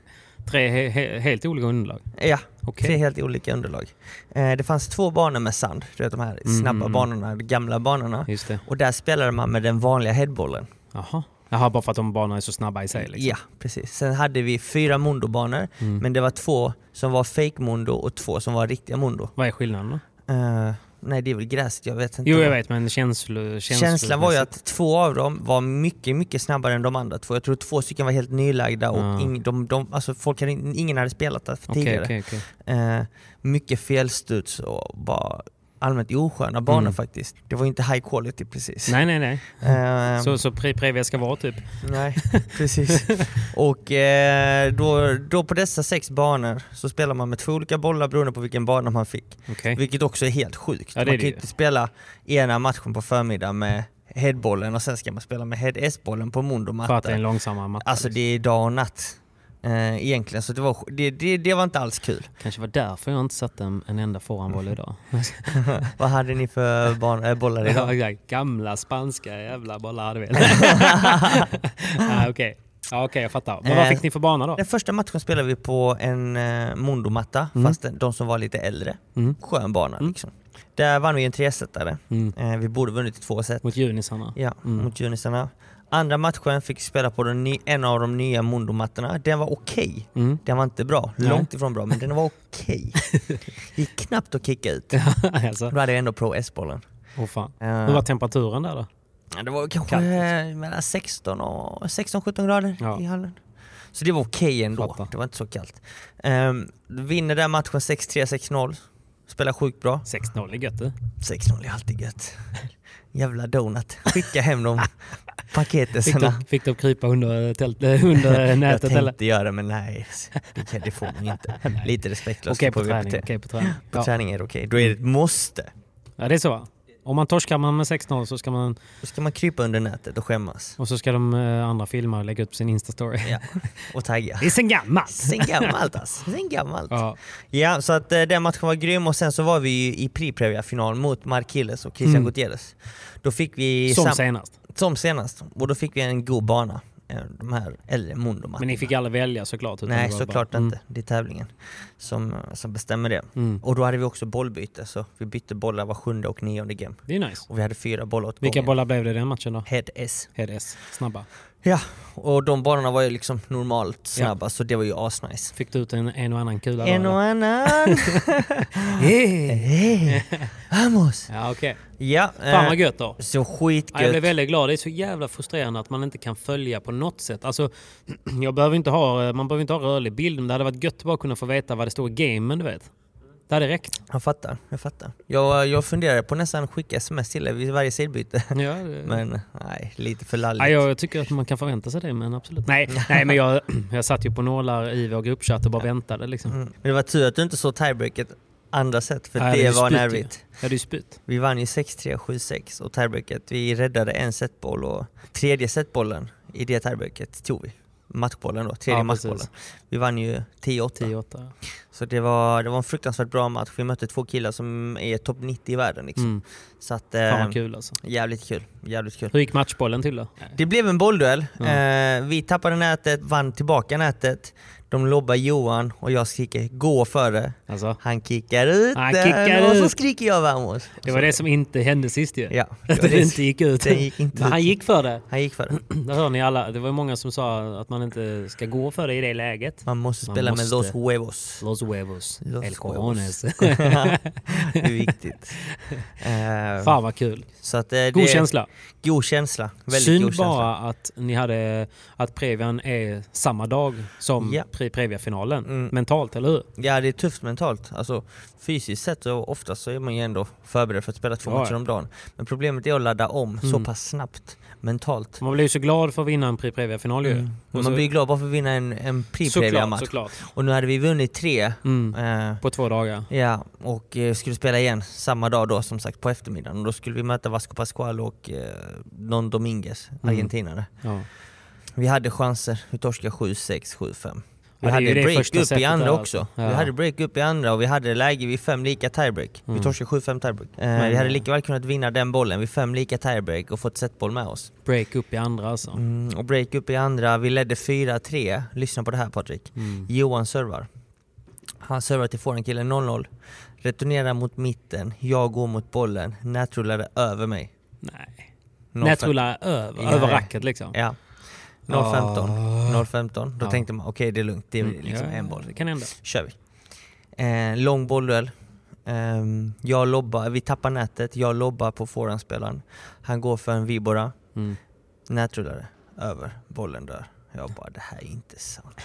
S3: tre he, he, helt olika underlag.
S2: ja,
S3: Okej.
S2: tre helt olika underlag. Eh, det fanns två banor med sand, du vet de här snabba banorna, de gamla banorna.
S3: Mm, Just det.
S2: Och där spelade man med den vanliga headbollen.
S3: Jaha. Jaha, bara för att de banorna är så snabba i sig liksom. Mm.
S2: Ja, precis. Sen hade vi fyra mondobanor, men det var två som var fake mondo och två som var riktiga mondo.
S3: Vad är skillnaden då?
S2: Eh, nej, det är väl gräset, jag vet inte.
S3: Jo, jag vet, men känslo,
S2: Känslan var ju att två av dem var mycket, mycket snabbare än de andra två. Jag tror två stycken var helt nylagda och
S3: Ah.
S2: ing, de, de, alltså folk hade, in- ingen hade spelat det
S3: Okej,
S2: tidigare.
S3: okej, okej.
S2: Eh, mycket felstuds och bara allmänt osköna banor faktiskt. Det var ju inte high quality precis.
S3: Mm. Nej, nej, nej.
S2: Eh,
S3: Så, så Pri Previa ska vara typ?
S2: Nej, precis. Och eh, då, då på dessa sex banor så spelar man med två olika bollar beroende på vilken bana man fick.
S3: Okej.
S2: Vilket också är helt sjukt.
S3: Mm. Ja, det
S2: man
S3: är det
S2: kan ju
S3: ju.
S2: inte spela ena matchen på förmiddagen med headbollen och sen ska man spela med head S-bollen på
S3: För att det är en
S2: mondomatta.
S3: långsammare matta.
S2: Alltså det är dag och natt eh, egentligen, så det var, det, det, det var inte alls kul.
S3: Kanske var därför jag inte satte en, en enda forehandboll
S2: Mm.
S3: idag.
S2: Vad hade ni för ban- eh, bollar idag?
S3: Ja, exakt. Gamla spanska jävla bollar hade vi. ah, Okej, Ja, okej, jag fattar. Men vad
S2: Eh,
S3: fick ni för bana då?
S2: Den första matchen spelade vi på en eh, mondomatta,
S3: Mm.
S2: fast den- de som var lite äldre. Skön bana liksom. Där vann vi en tresetare.
S3: Mm.
S2: Eh, vi borde vunnit i två set.
S3: Mot junisarna?
S2: Ja, mot Junisarna. Andra matchen fick vi spela på den ny, en av de nya mondomattorna. Den var okej.
S3: Mm.
S2: Den var inte bra. Långt ifrån bra, men den var okej. Gick knappt att kicka ut.
S3: alltså,
S2: Då hade jag ändå Pro S-bollen.
S3: åh fan.
S2: Eh.
S3: Hur var temperaturen där då?
S2: Ja, Det var kanske
S3: Kallt. liksom.
S2: eh, mellan 16 och 16-17 grader
S3: Ja.
S2: i hallen. Så det var okej ändå.
S3: Fattar.
S2: Det var inte så kallt. Ehm, vinner den matchen 6-3, 6-0. Spelar sjukt bra.
S3: 6-0 är gött du.
S2: 6-0 är alltid gött. Jävla donut. Skicka hem de
S3: Fick
S2: paketisarna.
S3: de, fick de krypa under, eh, tält, under
S2: Jag
S3: nätet eller?
S2: tänkte göra det men nej, det, kan, det får man inte. Lite respektlöst
S3: Okej på
S2: får vi
S3: träning.
S2: acceptera.
S3: okej på träning.
S2: På
S3: Ja.
S2: träning är det okej, då är det ett måste.
S3: ja, det är så va? Om man torskar man med 6-0 så ska man...
S2: Då ska man krypa under nätet och skämmas.
S3: Och så ska de eh, andra filma och lägga upp sin Insta-story.
S2: Ja. Och tagga.
S3: Det är sen gammalt!
S2: Sen gammalt alltså. Sen gammalt.
S3: Ja.
S2: Ja, så att eh, den matchen var grym och sen så var vi ju i Priprevia-final mot Markiles och Christian Gutierrez. Då fick vi...
S3: Mm. Som
S2: sam-
S3: senast.
S2: Som senast. Och då fick vi en god bana. eh, De här äldre mondomattorna.
S3: Men ni fick alla välja såklart. utan
S2: Nej,
S3: det var bara- Mm.
S2: såklart inte. Det är tävlingen som, eh, som bestämmer det. Och då hade vi också bollbyte, så vi bytte bollar var sjunde och nionde game.
S3: Det är nice.
S2: Och vi hade fyra bollar åt
S3: Vilka
S2: gången.
S3: bollar blev det i den matchen då?
S2: Head S.
S3: Head S. Snabba.
S2: Ja, och de bollarna var ju liksom normalt snabba, så det var ju asnice.
S3: Fick du ut en, en och annan kula då?
S2: En och
S3: eller?
S2: annan! Hey, Vamos!
S3: Ja, okej.
S2: Ja,
S3: Eh, Fan
S2: eh,
S3: vad gött då.
S2: Så
S3: Ja, jag blev
S2: skitgött.
S3: väldigt glad. Det är så jävla frustrerande att man inte kan följa på något sätt. Alltså, jag behöver inte ha, eh, man behöver inte ha rörlig bild, men det hade varit gött att bara kunna få veta vad det står i gamen, du vet. Det hade räckt.
S2: Jag fattar, jag fattar. Jag, jag funderade på nästan att skicka sms till dig vid varje sidbyte.
S3: Ja, det...
S2: Men nej, lite för lalligt.
S3: Ja, jag tycker att man kan förvänta sig det, men absolut. Nej, nej men jag, jag satt ju på nålar i vår gruppchatt och bara väntade. Liksom.
S2: Men det var tur att du inte såg tiebreaket andra set för
S3: Nej, det är
S2: det
S3: ju
S2: var
S3: spyt ju.
S2: nervigt.
S3: Ja, det är ju spyt.
S2: Vi vann ju 6-3, 7-6 och tiebreaket. Vi räddade en setboll och tredje setbollen i det tiebreaket tog vi. Matchbollen då, tredje
S3: Ja, precis.
S2: matchbollen. Vi vann ju 10-8.
S3: 10-8.
S2: Så det var, det var en fruktansvärt bra match. Vi mötte två killar som är topp 90 i världen liksom.
S3: Mm.
S2: Så att,
S3: Fan
S2: eh,
S3: vad kul alltså.
S2: jävligt kul. Jävligt kul.
S3: Hur gick matchbollen till då?
S2: Det blev en bollduell. Eh, vi tappade nätet, vann tillbaka nätet. De lobbar Johan och jag skriker gå före.
S3: Alltså,
S2: Han kickar ut
S3: Han
S2: den
S3: kickar
S2: och så
S3: ut.
S2: skriker jag vamos.
S3: det var det som inte hände sist ju.
S2: Ja,
S3: Att det inte gick ut.
S2: Den gick inte
S3: Men han
S2: ut.
S3: gick för det.
S2: Han gick före.
S3: Det hör ni alla. Det var ju många som sa att man inte ska gå för det i det läget.
S2: Man måste
S3: Man
S2: spela med
S3: måste.
S2: Los Huevos.
S3: Los huevos.
S2: Los
S3: El cojones.
S2: det är viktigt. Eh,
S3: Fan vad kul.
S2: så att, eh,
S3: God
S2: det-
S3: känsla.
S2: God känsla. Väldigt god
S3: Synd
S2: känsla.
S3: bara att ni hade att Previan är samma dag som
S2: Ja.
S3: pre Previa-finalen.
S2: Mm.
S3: Mentalt, eller hur?
S2: Ja, det är tufft mentalt. Alltså, fysiskt sett så oftast så är man ju ändå förberedd för att spela två
S3: Ja, Mm.
S2: matcher
S3: ja.
S2: om dagen. Men problemet är att ladda om så pass snabbt mentalt.
S3: Man blir ju så glad för att vinna en pre Previa-final ju. Och Mm. så-
S2: Mm. Man blir ju glad bara för att vinna en, en
S3: såklart,
S2: pre-previa-match.
S3: såklart.
S2: Och nu hade vi vunnit tre.
S3: Mm.
S2: Eh,
S3: På två dagar.
S2: ja, och eh, skulle spela igen samma dag då som sagt på eftermiddagen. Och då skulle vi möta Vasco Pascual och eh, Don Dominguez,
S3: Mm.
S2: argentinare.
S3: Ja.
S2: Vi hade chanser. Vi torskade 7-6, 7-5. Vi
S3: Ja, det är ju
S2: hade
S3: det
S2: break
S3: första
S2: upp i
S3: sättet
S2: andra
S3: där,
S2: också.
S3: alltså.
S2: Vi
S3: Ja.
S2: hade break upp i andra och vi hade läge vid fem lika tiebreak.
S3: Mm.
S2: Vi torskade 7-5 tiebreak. Eh, vi hade lika väl kunnat vinna den bollen vid fem lika tiebreak och fått setboll med oss.
S3: Break upp i andra alltså.
S2: Mm, och break upp i andra, vi ledde 4-3. Lyssna på det här Patrik.
S3: Mm.
S2: Johan servar. Han servar till forehandkillen 0-0. Returnerar mot mitten, jag går mot bollen. Nätrullade över mig.
S3: Nej.
S2: 0-5.
S3: Nätrullar över,
S2: Ja.
S3: över racket liksom.
S2: Ja. 0-15. 0-15. Då tänkte man okej det är lugnt, det är liksom
S3: Ah. Mm, Ja,
S2: en boll.
S3: Det kan hända.
S2: kör vi. Eh, lång bollduell. Ehm, jag lobbar, vi tappar nätet, jag lobbar på forehandspelaren. Han går för en vibora.
S3: Mm.
S2: Nätrullare. Över. Bollen dör. Jag bara, det här är inte sant.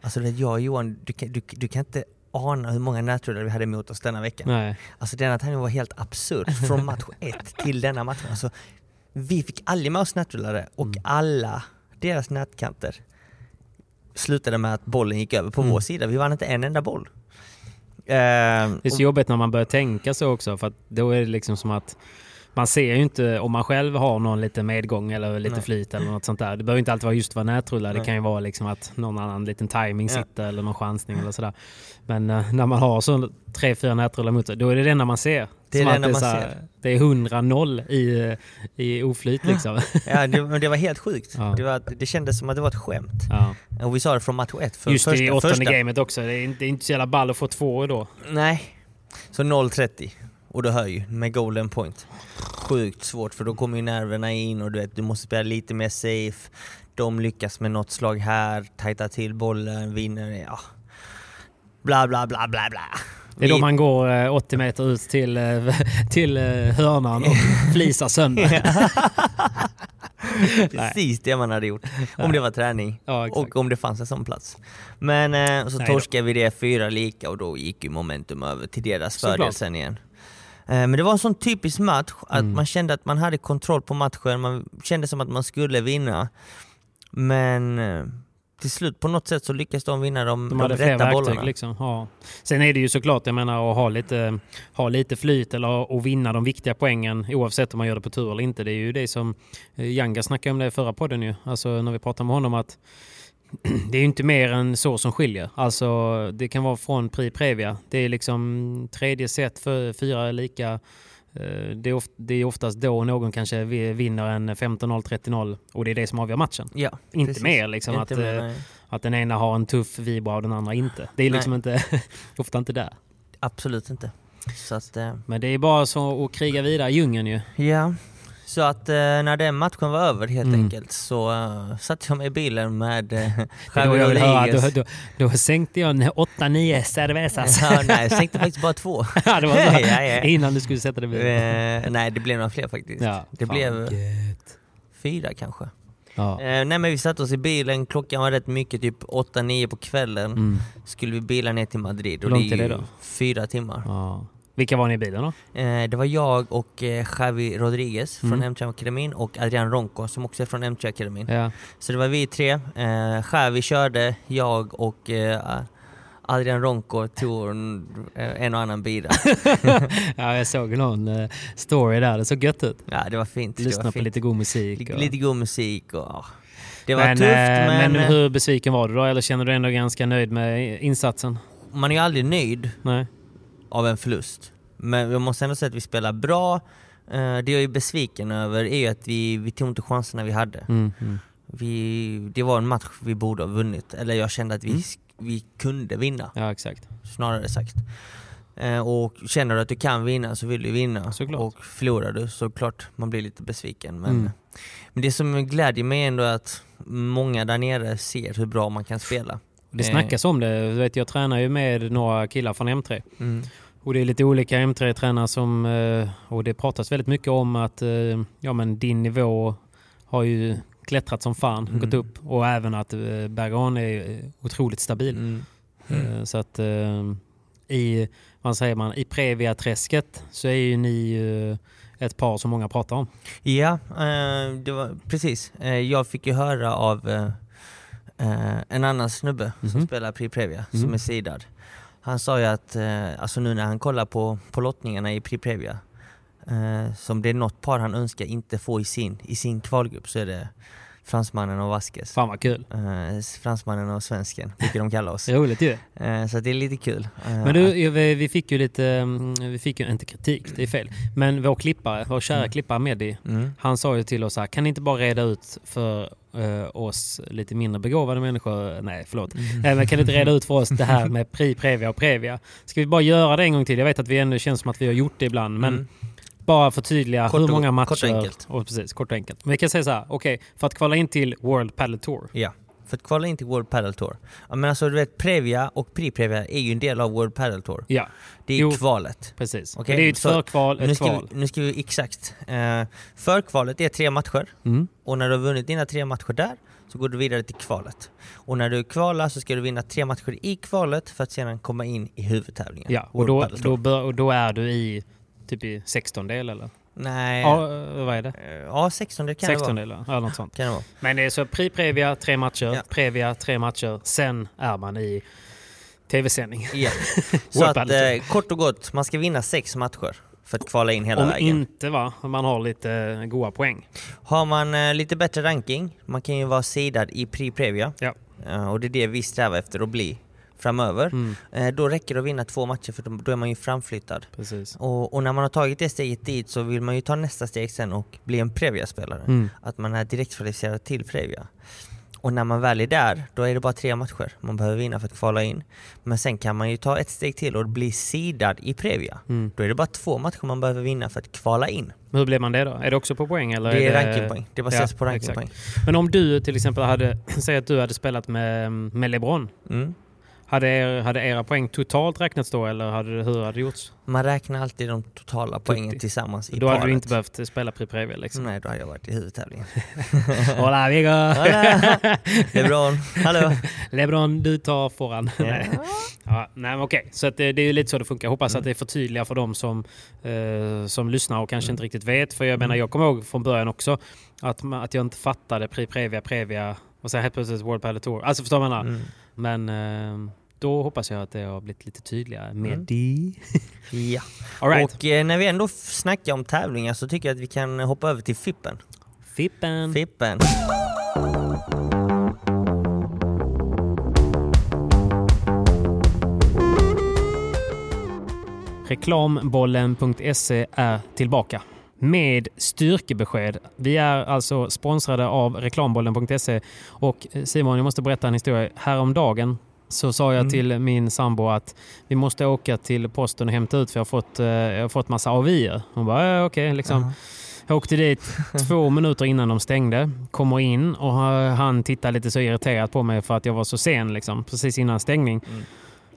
S2: Alltså det, jag och Johan, du kan, du, du kan inte ana hur många nätrullare vi hade emot oss denna veckan.
S3: Nej.
S2: Alltså denna tävling var helt absurd. Från match ett till denna match. Alltså, vi fick aldrig med oss nätrullare och
S3: Mm.
S2: alla deras nätkanter slutade med att bollen gick över på
S3: Mm.
S2: vår sida. Vi vann inte en enda boll. Ehm,
S3: Det är så jobbigt när man börjar tänka så också för att då är det liksom som att man ser ju inte om man själv har någon liten medgång eller lite
S2: Nej.
S3: flyt eller något sånt där. Det behöver inte alltid vara just vara nätrullar. Det kan ju vara liksom att någon annan liten timing
S2: Ja.
S3: sitter eller någon chansning eller sådär. Men eh, när man har så tre, fyra nätrullar mot sig, då är det det enda man ser.
S2: Det är
S3: Som
S2: det
S3: att
S2: enda
S3: är
S2: man
S3: så här- Det är 100-0 i, eh, i oflyt liksom.
S2: ja, det, men det var helt sjukt.
S3: Ja.
S2: Det, var, det kändes som att det var ett skämt.
S3: Ja.
S2: Och vi sa det från match ett. För
S3: Just
S2: första,
S3: i åttonde
S2: första-
S3: gamet också. Det är inte, det är inte så jävla ball att få två då.
S2: Nej. Så 0-30. Och du hör ju, med golden point. Sjukt svårt för då kommer ju nerverna in och du vet, du måste spela lite mer safe. De lyckas med något slag här, tajtar till bollen, vinner. Ja. Bla bla bla bla bla.
S3: Det är då
S2: Vi-
S3: man går eh, 80 meter ut till, eh, till eh, hörnan och flisar sönder.
S2: Precis det man hade gjort. Om det var träning
S3: Ja, exakt.
S2: och om det fanns en sån plats. Men eh, så
S3: Nej då.
S2: torskade vi det fyra lika och då gick ju momentum över till deras
S3: Såklart.
S2: fördel sen igen. Eh, Men det var en sån typisk match att
S3: Mm.
S2: man kände att man hade kontroll på matchen, man kände som att man skulle vinna. Men eh, till slut på något sätt så lyckades de vinna de,
S3: De
S2: de,
S3: hade fler
S2: rätta
S3: verktyg.
S2: bollarna.
S3: Liksom. Ja. Sen är det ju såklart, jag menar, att ha lite, ha lite flyt eller att vinna de viktiga poängen oavsett om man gör det på tur eller inte. Det är ju det som eh, Janga snackade om det i förra podden ju. Alltså när vi pratade med honom att det är ju inte mer än så som skiljer. Alltså det kan vara från Pri Previa. Det är liksom tredje set, för fyra lika. Eh, Det är, of- det är oftast då någon kanske vi- vinner en 15-0, 30-0 och det är det som avgör matchen.
S2: Ja,
S3: Inte
S2: precis.
S3: mer liksom
S2: Inte
S3: att,
S2: mer,
S3: eh,
S2: nej.
S3: Att den ena har en tuff vibra och den andra inte. Det är liksom inte, ofta inte där.
S2: Absolut inte. Så att, eh,
S3: Men det är bara så att kriga vidare i djungeln ju.
S2: Ja, så att eh, när den matchen var över helt
S3: Mm.
S2: enkelt så eh, satte jag mig i bilen med eh,
S3: Det är Då,
S2: Javi
S3: jag vill höra,
S2: Rodriguez.
S3: då, då, då sänkte jag 8-9 cervezas.
S2: Alltså, ja, nej, jag sänkte faktiskt bara två.
S3: Ja, det var så.
S2: Ja, ja.
S3: Innan du skulle sätta dig vid.
S2: Eh, nej, det blev några fler faktiskt. det
S3: fan,
S2: blev
S3: gött.
S2: fyra kanske.
S3: Ja.
S2: Eh, nej men vi satte oss i bilen, klockan var rätt mycket, typ 8-9 på kvällen.
S3: Mm.
S2: Skulle vi bila ner till Madrid och
S3: Hur långt
S2: det är
S3: är
S2: ju
S3: det då?
S2: fyra timmar.
S3: Ja. Vilka var ni i bilen då?
S2: Eh, det var jag och eh, Javi Rodriguez från
S3: Mm.
S2: M3-akademin och Adrian Ronco som också är från M3-akademin.
S3: Ja.
S2: Så det var vi tre. Eh, Javi körde, jag och eh, Adrian Ronko tog en- en och annan bira.
S3: ja, jag såg någon eh, story där. Det såg gött ut.
S2: Ja, det var fint. det var
S3: Lyssna på
S2: fint.
S3: lite god musik.
S2: Lite,
S3: och-
S2: lite god musik och... ja. Det var
S3: men,
S2: tufft
S3: eh,
S2: men,
S3: men hur besviken var du då? Eller känner du dig ändå ganska nöjd med insatsen?
S2: man är ju aldrig nöjd
S3: Nej.
S2: av en förlust. Men jag måste ändå säga att vi spelar bra. Eh, Det jag är besviken över är ju att vi, vi tog inte chanserna vi hade.
S3: Mm, mm.
S2: Vi, det var en match vi borde ha vunnit. Eller jag kände att vi,
S3: Mm.
S2: sk- vi kunde vinna,
S3: Ja, exakt.
S2: snarare sagt. Eh, Och känner du att du kan vinna så vill du vinna.
S3: Såklart.
S2: Och förlorar du så klart man blir lite besviken. Men,
S3: Mm.
S2: men det som glädjer mig ändå är att många där nere ser hur bra man kan spela.
S3: Det
S2: Eh,
S3: snackas om det. Du vet, jag tränar ju med några killar från M3.
S2: Mm.
S3: Och det är lite olika M3-tränare som... eh, Och det pratas väldigt mycket om att eh, ja, men din nivå har ju klättrat som fan,
S2: Mm.
S3: gått upp. Och även att eh, Bergan är eh, otroligt stabil.
S2: Mm.
S3: Eh, Så att eh, i, vad säger man, i Previa-träsket så är ju ni eh, ett par som många pratar om.
S2: Ja, eh, det var, precis. Eh, jag fick ju höra av eh, eh, en annan snubbe som
S3: Mhm.
S2: spelar Pri Previa, som
S3: Mhm.
S2: är sidad. Han sa ju att, eh, alltså nu när han kollar på, på lottningarna i Pri Previa, eh, som det är något par han önskar inte få i sin, i sin kvalgrupp så är det fransmannen och Vasquez.
S3: Fan vad kul.
S2: Eh, fransmannen och svensken brukar de kalla oss.
S3: Roligt ju.
S2: Eh, så att det är lite kul. Eh,
S3: Men du, vi vi fick ju lite, mm, vi fick ju inte kritik, det är fel. Men vår klippare, vår kära klippare Mehdi,
S2: Mm.
S3: han sa ju till oss så här, kan ni inte bara reda ut för eh, oss lite mindre begåvade människor, nej förlåt,
S2: Mm.
S3: Eh, men kan ni inte reda ut för oss det här med Pri, Previa och Previa? Ska vi bara göra det en gång till? Jag vet att vi ändå känns som att vi har gjort det ibland, men
S2: Mm.
S3: bara förtydliga
S2: Kort
S3: hur
S2: och-
S3: många matcher...
S2: kort och enkelt.
S3: Och precis, kort och enkelt. Men vi kan säga så här, okej, för att kvala in till World Padel Tour.
S2: Ja, för att kvala in till World Padel Tour. Ja, men alltså du vet, Previa och Pre-Previa är ju en del av World Padel Tour.
S3: Ja,
S2: Det är
S3: Jo.
S2: kvalet.
S3: precis.
S2: Okej,
S3: det är ju ett
S2: så
S3: förkval,
S2: Nu
S3: ett
S2: ska, vi,
S3: kval.
S2: nu ska vi exakt. Eh, förkvalet är tre matcher
S3: Mm.
S2: och när du har vunnit dina tre matcher där så går du vidare till kvalet. Och när du kvalar så ska du vinna tre matcher i kvalet för att sedan komma in i huvudtävlingen.
S3: Ja, och
S2: World
S3: då,
S2: Padel Tour.
S3: då, bör, och då är du i typ i 16-del eller?
S2: Nej,
S3: Ja,
S2: ja,
S3: eh, vad är det?
S2: ja 16 det kan det
S3: 16
S2: vara.
S3: delar eller något sånt.
S2: Kan det vara.
S3: Men det är så Pri Previa, tre matcher,
S2: Ja.
S3: Previa, tre matcher, sen är man i tv-sändning. alltså.
S2: Ja. så
S3: World
S2: att,
S3: Padel
S2: eh, kort och gott, man ska vinna sex matcher för att kvala in hela
S3: Om
S2: vägen.
S3: inte va, om man har lite eh, goda poäng.
S2: Har man eh, lite bättre ranking, man kan ju vara sidad i pre-previa
S3: Ja.
S2: eh, och det är det vi strävar efter att bli framöver.
S3: Mm.
S2: Eh, då räcker det att vinna två matcher för då- då är man ju framflyttad.
S3: Precis.
S2: Och, och när man har tagit det steget dit så vill man ju ta nästa steg sen och bli en Previa-spelare.
S3: Mm.
S2: Att man är direktkvalificerad till Previa. Och när man väl är där, då är det bara tre matcher man behöver vinna för att kvala in. Men sen kan man ju ta ett steg till och bli sidad i Previa.
S3: Mm.
S2: Då är det bara två matcher man behöver vinna för att kvala in.
S3: Men hur blir man det då? Är det också på poäng? Eller
S2: det är rankingpoäng. Det baseras
S3: Ja,
S2: på rankingpoäng.
S3: Men om du till exempel hade, säg att du hade spelat med, med LeBron.
S2: Mm.
S3: Hade, er, hade era poäng totalt räknats då eller hade, det- hur hade det gjorts?
S2: Man räknar alltid de totala poängen tillsammans i
S3: då
S2: paret.
S3: hade du inte behövt spela Pri Previa liksom.
S2: Nej, då hade jag varit i huvudtävlingen.
S3: Hola Viggo!
S2: Hola! LeBron, hallå!
S3: LeBron, du tar föran. Nej. Ja, nej, men okej. Så att eh, det, det är ju lite så det funkar. Hoppas
S2: Mm.
S3: att det förtydligar för de som, eh, som lyssnar och
S2: Mm.
S3: kanske inte riktigt vet. För jag menar, jag kommer ihåg från början också att, ma- att jag inte fattade Pri Previa, Previa och sen helt plötsligt World Padel Tour. Alltså förstår man?
S2: Mm.
S3: Men eh, då hoppas jag att det har blivit lite tydligare med
S2: Mm.
S3: det.
S2: Ja.
S3: All right.
S2: Och eh, när vi ändå f- snackar om tävlingar så tycker jag att vi kan hoppa över till Fippen.
S3: Fippen!
S2: Fippen.
S3: Reklambollen.se E är tillbaka med styrkebesked. Vi är alltså sponsrade av reklambollen.se och eh, Simon, jag måste berätta en historia. Häromdagen så sa jag till min sambo att vi måste åka till posten och hämta ut för jag har fått, eh, jag har fått massa avier. Hon bara, ja, okej. liksom. Jag åkte dit två minuter innan de stängde, kommer in och eh, han tittar lite så irriterat på mig för att jag var så sen, liksom, precis innan stängning.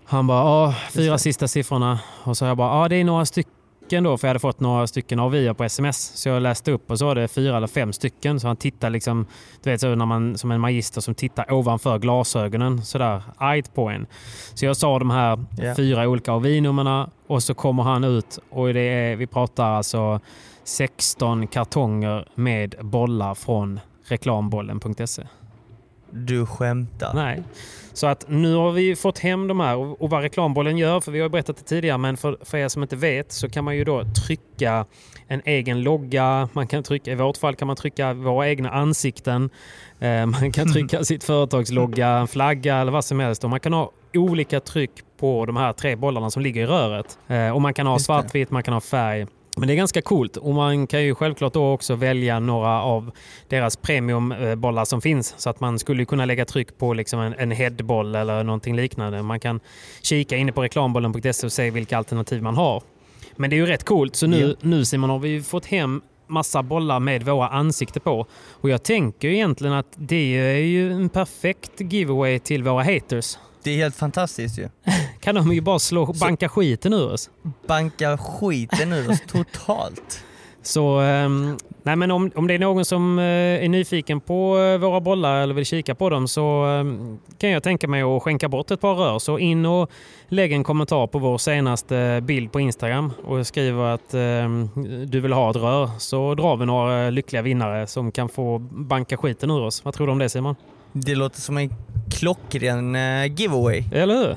S3: Han bara, ja, fyra sista siffrorna. Och så jag bara, ja, det är några stycken då, för jag hade fått några stycken avier på sms. Så jag läste upp och så var det fyra eller fem stycken. Så han tittar liksom, du vet, så när man, som en magister som tittar ovanför glasögonen, sådär argt på en. Så jag sa de här
S2: Ja.
S3: fyra olika avinummerna och så kommer han ut och det är, vi pratar alltså E. 16 kartonger med bollar från reklambollen.se.
S2: Du skämtar.
S3: Nej. Så att nu har vi fått hem de här och, och vad reklambollen gör, för vi har ju berättat det tidigare, men för, för er som inte vet så kan man ju då trycka en egen logga. Man kan trycka, I vårt fall kan man trycka våra egna ansikten. Eh, man kan trycka sitt företagslogga, en flagga eller vad som helst. Och man kan ha olika tryck på de här tre bollarna som ligger i röret. Eh, och man kan ha
S2: Just det.
S3: svartvitt, man kan ha färg. Men det är ganska coolt och man kan ju självklart då också välja några av deras premiumbollar som finns. Så att man skulle ju kunna lägga tryck på liksom en, en headboll eller någonting liknande. Man kan kika inne på reklambollen.se och se vilka alternativ man har. Men det är ju rätt coolt. Så nu, nu Simon har vi ju fått hem massa bollar med våra ansikten på. Och jag tänker ju egentligen att det är ju en perfekt giveaway till våra haters.
S2: Det är helt fantastiskt ju.
S3: Kan de ju bara slå, banka skiten ur oss.
S2: Banka skiten ur oss totalt.
S3: Så ehm, nej men om, om det är någon som eh, är nyfiken på eh, våra bollar eller vill kika på dem så ehm, kan jag tänka mig att skänka bort ett par rör. Så in och lägg en kommentar på vår senaste bild på Instagram och skriv att ehm, du vill ha ett rör så drar vi några lyckliga vinnare som kan få banka skiten ur oss. Vad tror du om det Simon?
S2: Det låter som en klockren eh, giveaway.
S3: Eller hur?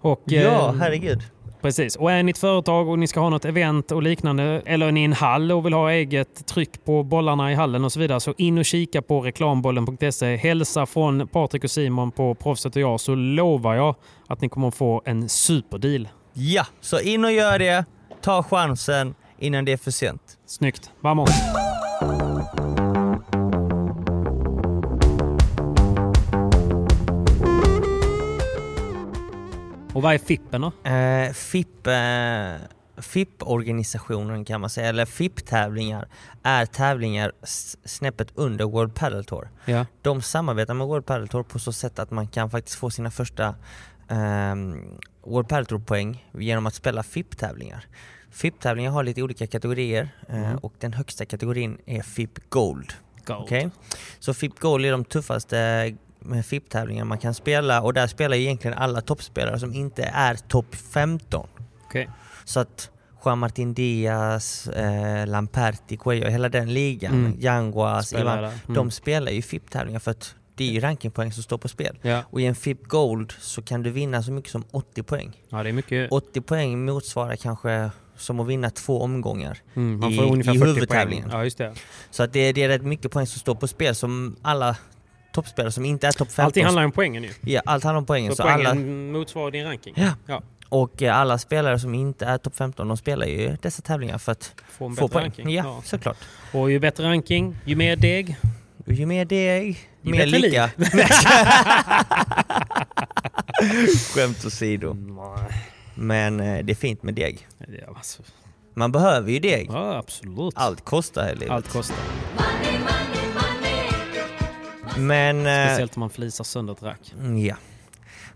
S3: Och,
S2: Ja,
S3: ehm,
S2: herregud.
S3: Precis, och är ni ett företag och ni ska ha något event och liknande eller är ni en hall och vill ha eget tryck på bollarna i hallen och så vidare så in och kika på reklambollen.se. Hälsa från Patrik och Simon på Proffset och jag så lovar jag att ni kommer att få en superdeal.
S2: Ja, så in och gör det. Ta chansen innan det är för sent.
S3: Snyggt! Vamos! Och vad är Fippen då?
S2: Eh, FIP, eh, FIP-organisationen kan man säga, eller FIP-tävlingar, är tävlingar s- snäppet under World Padel Tour.
S3: Ja.
S2: De samarbetar med World Padel Tour på så sätt att man kan faktiskt få sina första ehm, World Padel Tour-poäng genom att spela FIP-tävlingar. FIP-tävlingar har lite olika kategorier eh, och den högsta kategorin är FIP Gold.
S3: Gold.
S2: Okej? Så FIP Gold är de tuffaste med FIP-tävlingar man kan spela och där spelar ju egentligen alla toppspelare som inte är topp 15.
S3: Okej.
S2: Så att Juan-Martin Diaz, eh, Lamperti, Cuello, hela den ligan,
S3: Mm.
S2: Yanguas,
S3: Spelar
S2: Ivan,
S3: där. Mm.
S2: de spelar ju FIP-tävlingar för att det är ju rankingpoäng som står på spel.
S3: Ja.
S2: Och i en FIP Gold så kan du vinna så mycket som 80 poäng.
S3: ja, det är mycket.
S2: 80 poäng motsvarar kanske som att vinna två omgångar
S3: Mm, man
S2: i,
S3: får ungefär
S2: i
S3: 40 poäng.
S2: huvudtävlingen.
S3: Ja, just det.
S2: Så att det, det är rätt mycket poäng som står på spel som alla toppspelare som inte är topp 15
S3: Allting handlar om poängen ju.
S2: ja, allt handlar om poängen.
S3: Så,
S2: Så
S3: poängen
S2: alla,
S3: motsvarar din ranking?
S2: Ja.
S3: ja
S2: och eh, alla spelare som inte är topp 15 de spelar ju dessa tävlingar för att
S3: får en
S2: få
S3: bättre
S2: poäng.
S3: ranking.
S2: Ja,
S3: Ja.
S2: såklart.
S3: Och ju bättre ranking, ju mer deg.
S2: Och ju mer deg,
S3: Ju
S2: mer
S3: bättre
S2: lycka. Skämt åsido. Men eh, det är fint med deg.
S3: Ja, alltså.
S2: Man behöver ju deg.
S3: ja absolut.
S2: Allt Eh. kostar här i livet.
S3: Allt kostar.
S2: Men... eh,
S3: Speciellt om man flisar sönder ett rack.
S2: Mm, Ja.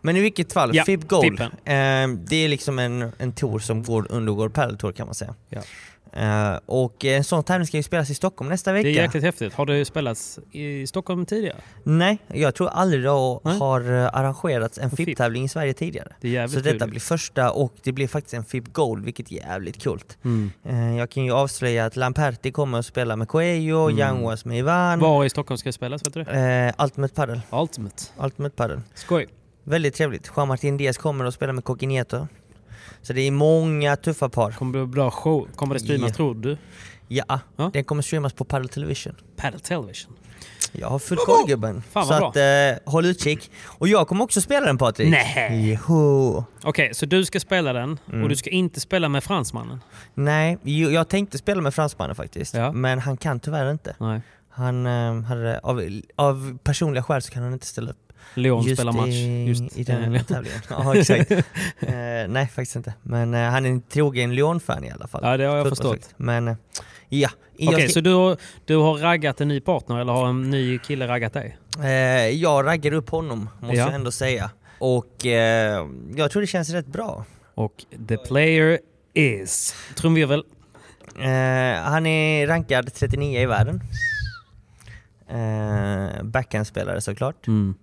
S2: Men i vilket fall,
S3: Ja,
S2: FIB Gold.
S3: Fippen.
S2: Eh, det är liksom en, en tour som går under Gold Padel Tour kan man säga.
S3: Ja.
S2: Eh, och en sån tävling ska ju spelas i Stockholm nästa
S3: Det
S2: vecka.
S3: är jäkligt häftigt. Har det spelats i Stockholm tidigare?
S2: Nej, jag tror aldrig det har-
S3: Nej.
S2: har eh, arrangerats en
S3: FIB.
S2: FIB-tävling i Sverige tidigare.
S3: Det är jävligt
S2: Så detta
S3: kul.
S2: blir första och det blir faktiskt en FIB Gold, vilket är jävligt coolt.
S3: Mm.
S2: Eh, jag kan ju avslöja att Lamperti kommer att spela med Coelho,
S3: Mm.
S2: Yanguas med Ivan,
S3: Var i Stockholm ska det spelas? Vet du det?
S2: eh, Ultimate Padel.
S3: Ultimate.
S2: Ultimate Padel.
S3: Skoj.
S2: Väldigt trevligt. Jean-Martin Diaz kommer att spela med Coquinieto. Så det är många tuffa par.
S3: Kommer det bli bra show? Kommer det streamas
S2: Ja.
S3: tror du?
S2: Ja, ah,
S3: Ja.
S2: den kommer streamas på Paddle Television.
S3: Paddle Television.
S2: Jag har full koll gubben.
S3: Fan,
S2: Så
S3: vad
S2: att eh, håll utkik. Och jag kommer också spela den Patrik.
S3: Nej.
S2: Jo.
S3: Okej, så du ska spela den
S2: Mm.
S3: och du ska inte spela med fransmannen?
S2: Nej, jo, jag tänkte spela med fransmannen faktiskt.
S3: Ja.
S2: Men han kan tyvärr inte.
S3: Nej.
S2: Han eh, hade, av, av personliga skäl så kan han inte ställa upp.
S3: Leon spelar match.
S2: i,
S3: Just Eh,
S2: i den
S3: Ja,
S2: tävlingen. Ja, exakt. Eh, nej, faktiskt inte. Men eh, han är en trogen Lyon-fan i alla fall.
S3: Ja, det har jag
S2: Fullt
S3: förstått.
S2: perfekt. Men eh, ja. Jag
S3: Okej,
S2: ska-
S3: så du har, du har raggat en ny partner eller har en ny kille raggat dig?
S2: Eh, jag raggar upp honom, måste
S3: Ja.
S2: jag ändå säga. Och eh, jag tror det känns rätt bra.
S3: Och the player is... Trumvirvel.
S2: Eh, han är rankad 39 i världen. Eh, Backhandspelare såklart.
S3: Mm.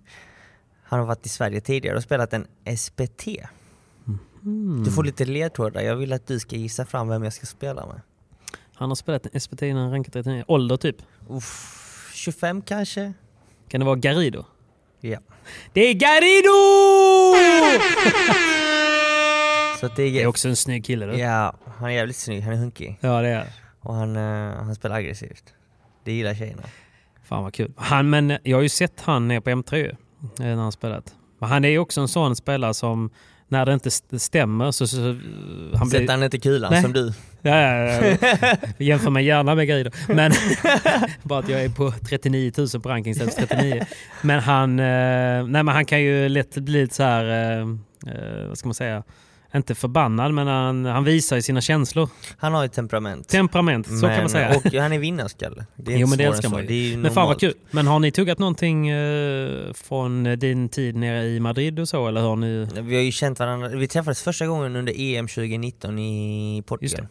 S2: Han har varit i Sverige tidigare och spelat en SPT.
S3: Mm-hmm.
S2: Du får lite ledtrådar. Jag vill att du ska gissa fram vem jag ska spela med.
S3: Han har spelat en SPT innan han rankat 39. Ålder typ.
S2: Uff, 25 kanske?
S3: Kan det vara Garrido?
S2: Ja.
S3: Det är Garrido!
S2: Så att det är,
S3: Det är också en snygg kille du.
S2: Ja, han är jävligt snygg. Han är hunkig.
S3: Ja, det är
S2: Och han, eh, han spelar aggressivt. Det gillar tjejerna.
S3: Fan vad kul. Han, men jag har ju sett han nere på M3 ju, eh, när han spelat. Men han är ju också en sån spelare som när det inte st- stämmer så... så eh, han blir,
S2: Sätter han inte kulan
S3: Nej.
S2: som du?
S3: Ja, ja, ja. Jämför mig gärna med Guido. Men bara att jag är på 39 000 på ranking istället för 39. Men han, eh, nej, men han kan ju lätt bli lite så här, eh, eh, vad ska man säga, inte förbannad men han, han visar ju sina känslor.
S2: Han har ett temperament.
S3: Temperament, så kan man
S2: Men-
S3: säga.
S2: Och han är vinnarskalle. Det är
S3: jo
S2: inte
S3: men det
S2: svårare
S3: älskar
S2: än så.
S3: man ju.
S2: Det är ju
S3: men fan vad
S2: normalt.
S3: kul. Men har ni tuggat någonting eh, från din tid nere i Madrid och så eller har ni?
S2: Vi har ju känt varandra. Vi träffades första gången under EM 2019 i Portugal.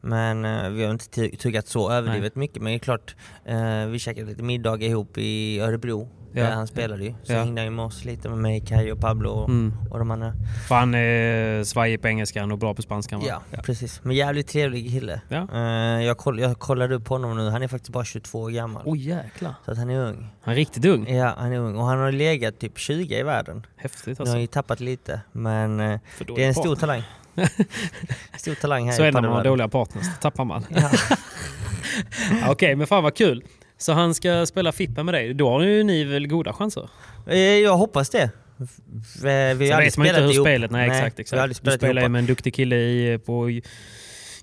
S2: Men eh, vi har inte tu- tuggat så överdrivet mycket. Men det är klart, eh, vi käkade lite middag ihop i Örebro.
S3: Ja.
S2: Där han spelade ju. Så
S3: Ja.
S2: hängde han ju med oss lite med mig, Kaj och Pablo och,
S3: Mm.
S2: och de andra.
S3: För han är svajig på engelskan och bra på spanskan va?
S2: Ja, precis. Men jävligt trevlig kille.
S3: Ja.
S2: Eh, jag, koll, jag kollade upp honom nu. Han är faktiskt bara 22 år gammal.
S3: Oj jäklar.
S2: Så att han är ung.
S3: Han är riktigt ung.
S2: Ja, han är ung. Och han har legat typ 20 i världen.
S3: Häftigt
S2: Nu har
S3: alltså.
S2: han ju tappat lite, men eh,
S3: För
S2: det är en
S3: dålig
S2: stor
S3: partner.
S2: talang. stor talang här
S3: Så är
S2: i
S3: det när man har
S2: padelvärlden.
S3: dåliga partners, då tappar man. Okej, men fan vad kul. Så han ska spela Fippen med dig. Då har ju ni väl goda chanser?
S2: Eh, Jag hoppas det. F- Vi har
S3: Sen
S2: aldrig
S3: vet man ju inte
S2: spelat
S3: hur
S2: ihop.
S3: spelet... Nej, exakt.
S2: Vi har aldrig
S3: exakt. Du
S2: spelat
S3: spelar ju
S2: ihop.
S3: med en duktig kille i, på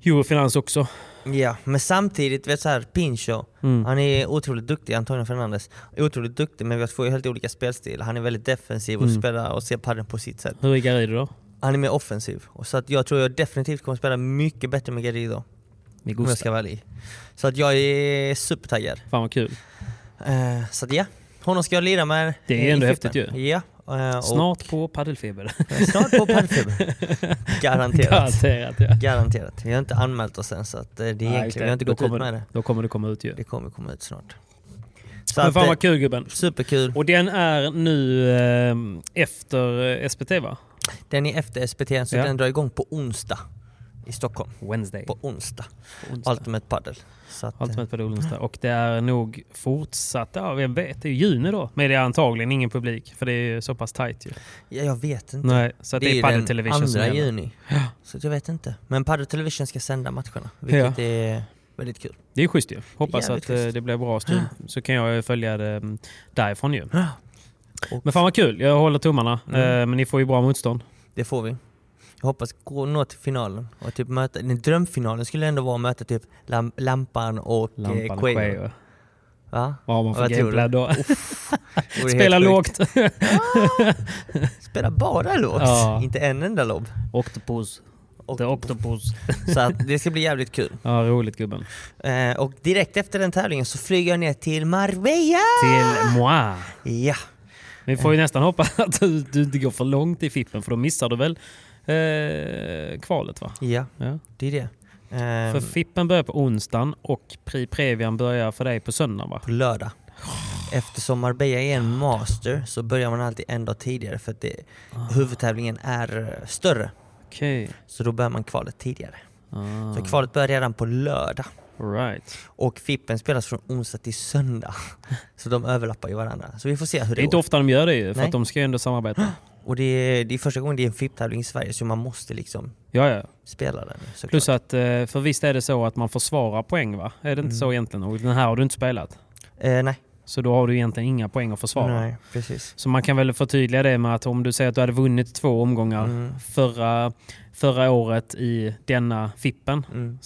S3: Eurofinans också.
S2: Ja, men samtidigt, vet så här, Pincho,
S3: Mm.
S2: han är otroligt duktig, Antonio Fernandes. Otroligt duktig, men vi har två helt olika spelstilar. Han är väldigt defensiv och
S3: Mm.
S2: spelar och ser padden på sitt sätt.
S3: Hur är Garrido då?
S2: Han är mer offensiv. Och Så att jag tror jag definitivt kommer spela mycket bättre med Garrido.
S3: Med
S2: Om jag
S3: Gustav.
S2: ska vara ärlig. Så att jag är supertaggad.
S3: Fan vad kul.
S2: Eh, så att ja, honom ska jag lira med.
S3: Det är
S2: eh, i
S3: ändå
S2: Klippen.
S3: häftigt ju.
S2: Ja. eh, och- eh,
S3: Snart på paddelfeber.
S2: Snart på Palmfeber. Garanterat.
S3: Garanterat ja.
S2: Garanterat. Vi har inte anmält oss än så att eh, det är egentligen, vi har inte
S3: Då
S2: gått ut
S3: kommer
S2: med
S3: det-
S2: det.
S3: Då kommer det komma ut ju.
S2: Det kommer komma ut snart. Så
S3: Men
S2: att,
S3: fan
S2: eh,
S3: vad kul gubben.
S2: Superkul.
S3: Och den är nu eh, efter eh, SPT va?
S2: Den är efter SPT så
S3: Ja.
S2: den drar igång på onsdag i Stockholm.
S3: Wednesday.
S2: På onsdag.
S3: onsdag.
S2: Ultimate Padel. Så att, eh,
S3: Ultimate Padel Onsdag. Och det är nog fortsatt, ja vem vet, det är ju juni då. Men det är antagligen ingen publik för det är ju så pass tajt ju.
S2: eh, ja, jag vet inte.
S3: Nej, så att det, är Padel
S2: den
S3: Television som
S2: andra
S3: gäller.
S2: juni. Så att jag vet inte. Men Padel Television ska sända matcherna. Vilket är väldigt kul.
S3: Det är schysst ju. Hoppas
S2: Jävligt
S3: att eh,
S2: schysst.
S3: det blir bra stud. Så kan jag eh, följa det mm, därifrån ju.
S2: Och-
S3: Men fan vad kul, jag håller tummarna.
S2: Mm.
S3: Eh, Men ni får ju bra motstånd.
S2: Det får vi. Jag hoppas gå nå till finalen och typ möta, den drömfinalen skulle ändå vara att möta typ Lam- Lampan och
S3: Lampan
S2: eh,
S3: och
S2: Quayle.
S3: Quayo.
S2: Va?
S3: Vad har man för
S2: Vad tror du?
S3: gameplan då?
S2: Det vore
S3: Spela
S2: helt sjukt.
S3: lågt.
S2: Spela bara lågt,
S3: Ja.
S2: inte en enda lobb.
S3: Octopus.
S2: Och-
S3: The Octopus.
S2: Så att det ska bli jävligt kul.
S3: Ja, roligt gubben.
S2: Eh, och direkt efter den tävlingen så flyger jag ner till Marbella!
S3: Till moi.
S2: Ja,
S3: Vi får
S2: Eh.
S3: ju nästan hoppas att du, du inte går för långt i fippen för då missar du väl eh, kvalet va?
S2: ja,
S3: Ja.
S2: det är det. Eh,
S3: För fippen börjar på onsdagen och Pri Previan börjar för dig på söndagen va?
S2: på lördag. Eftersom Marbella är en master så börjar man alltid en dag tidigare för att det,
S3: Ah.
S2: huvudtävlingen är eh, större.
S3: Okej.
S2: Så då börjar man kvalet tidigare.
S3: Ah,
S2: Så kvalet börjar redan på lördag.
S3: right.
S2: Och Fippen spelas från onsdag till söndag. Så de överlappar ju varandra. Så vi får se hur
S3: Det
S2: det,
S3: är inte
S2: går.
S3: ofta de gör det ju för
S2: Nej.
S3: att de ska ju ändå samarbeta.
S2: Och det är, det är första gången det är en FIP-tävling i Sverige så man måste liksom
S3: Ja, ja.
S2: spela den. såklart.
S3: Plus att, eh, för visst är det så att man försvarar poäng va? Är det inte
S2: Mm.
S3: så egentligen? Och den här har du inte spelat.
S2: Eh, nej.
S3: Så då har du egentligen inga poäng att försvara.
S2: nej, precis.
S3: Så man kan väl förtydliga det med att om du säger att du hade vunnit två omgångar
S2: Mm.
S3: förra, förra året i denna Fippen,
S2: Mm.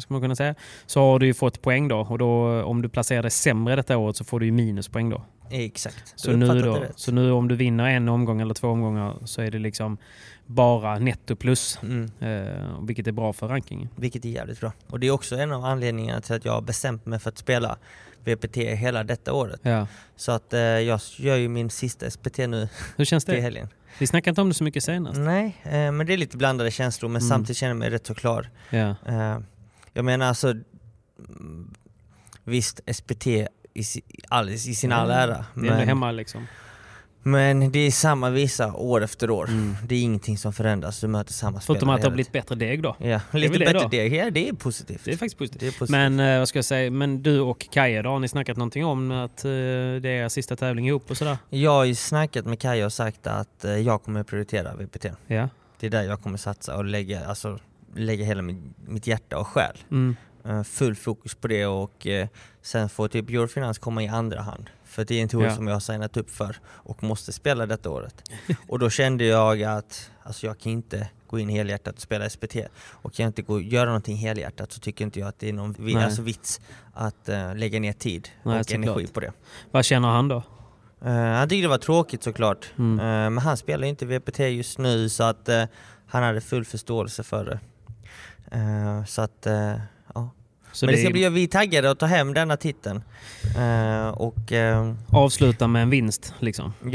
S3: ska man kunna säga, så har du ju fått poäng då. Och då, om du placerar dig sämre detta året så får du ju minuspoäng då.
S2: Exakt.
S3: Så
S2: Du har
S3: nu,
S2: uppfattat
S3: då,
S2: det rätt.
S3: så nu om du vinner en omgång eller två omgångar så är det liksom bara netto plus.
S2: Mm.
S3: Eh, vilket är bra för rankingen.
S2: Vilket är jävligt bra. Och det är också en av anledningarna till att jag har bestämt mig för att spela VPT hela detta året.
S3: Ja.
S2: Så att eh, jag gör ju min sista SPT nu
S3: Hur känns
S2: till
S3: det?
S2: helgen.
S3: Vi snackade inte om det så mycket senast.
S2: Nej, eh, men det är lite blandade känslor men
S3: Mm.
S2: samtidigt känner jag mig rätt så klar.
S3: Ja.
S2: Eh, jag menar alltså, mm, visst SPT i, si- all, i sin all ära,
S3: Mm. Det är ändå
S2: men
S3: hemma liksom.
S2: Men det är samma visa år efter år. Det är ingenting som förändras, du möter samma spelare.
S3: Mm. Förutom att det har
S2: hela
S3: blivit bättre deg då.
S2: tiden. Ja,
S3: är
S2: lite
S3: väl det
S2: bättre
S3: då.
S2: deg. Ja, det är positivt.
S3: Det är faktiskt positivt.
S2: Det är positivt.
S3: Men eh, vad ska jag säga, men du och Kaja då, har ni snackat någonting om att eh, det är er sista tävling ihop och sådär?
S2: Jag har ju snackat med Kaja och sagt att eh, jag kommer prioritera VPT.
S3: Ja.
S2: Det är där jag kommer satsa och lägga, alltså, lägga hela min, mitt hjärta och själ.
S3: Mm.
S2: Eh, Full fokus på det och eh, sen får typ Eurofinans komma i andra hand. För det är en tour
S3: Ja.
S2: som jag har signat upp för och måste spela detta året. och då kände jag att alltså, jag kan inte gå in helhjärtat och spela SPT. Och kan jag inte gå, göra någonting helhjärtat så tycker inte jag att det är någon vi,
S3: Nej.
S2: alltså, vits att eh, lägga ner tid
S3: Nej,
S2: och
S3: såklart.
S2: energi på det.
S3: Vad känner han då?
S2: Eh, han tyckte det var tråkigt såklart,
S3: Mm.
S2: Eh, men han spelar ju inte VPT just nu så att eh, han hade full förståelse för det. Eh, så att, eh, ja.
S3: Så
S2: men det
S3: det
S2: ska
S3: är-
S2: bli, vi är taggade att ta hem denna titeln. Eh, och, eh,
S3: Avsluta med en vinst liksom.
S2: ja.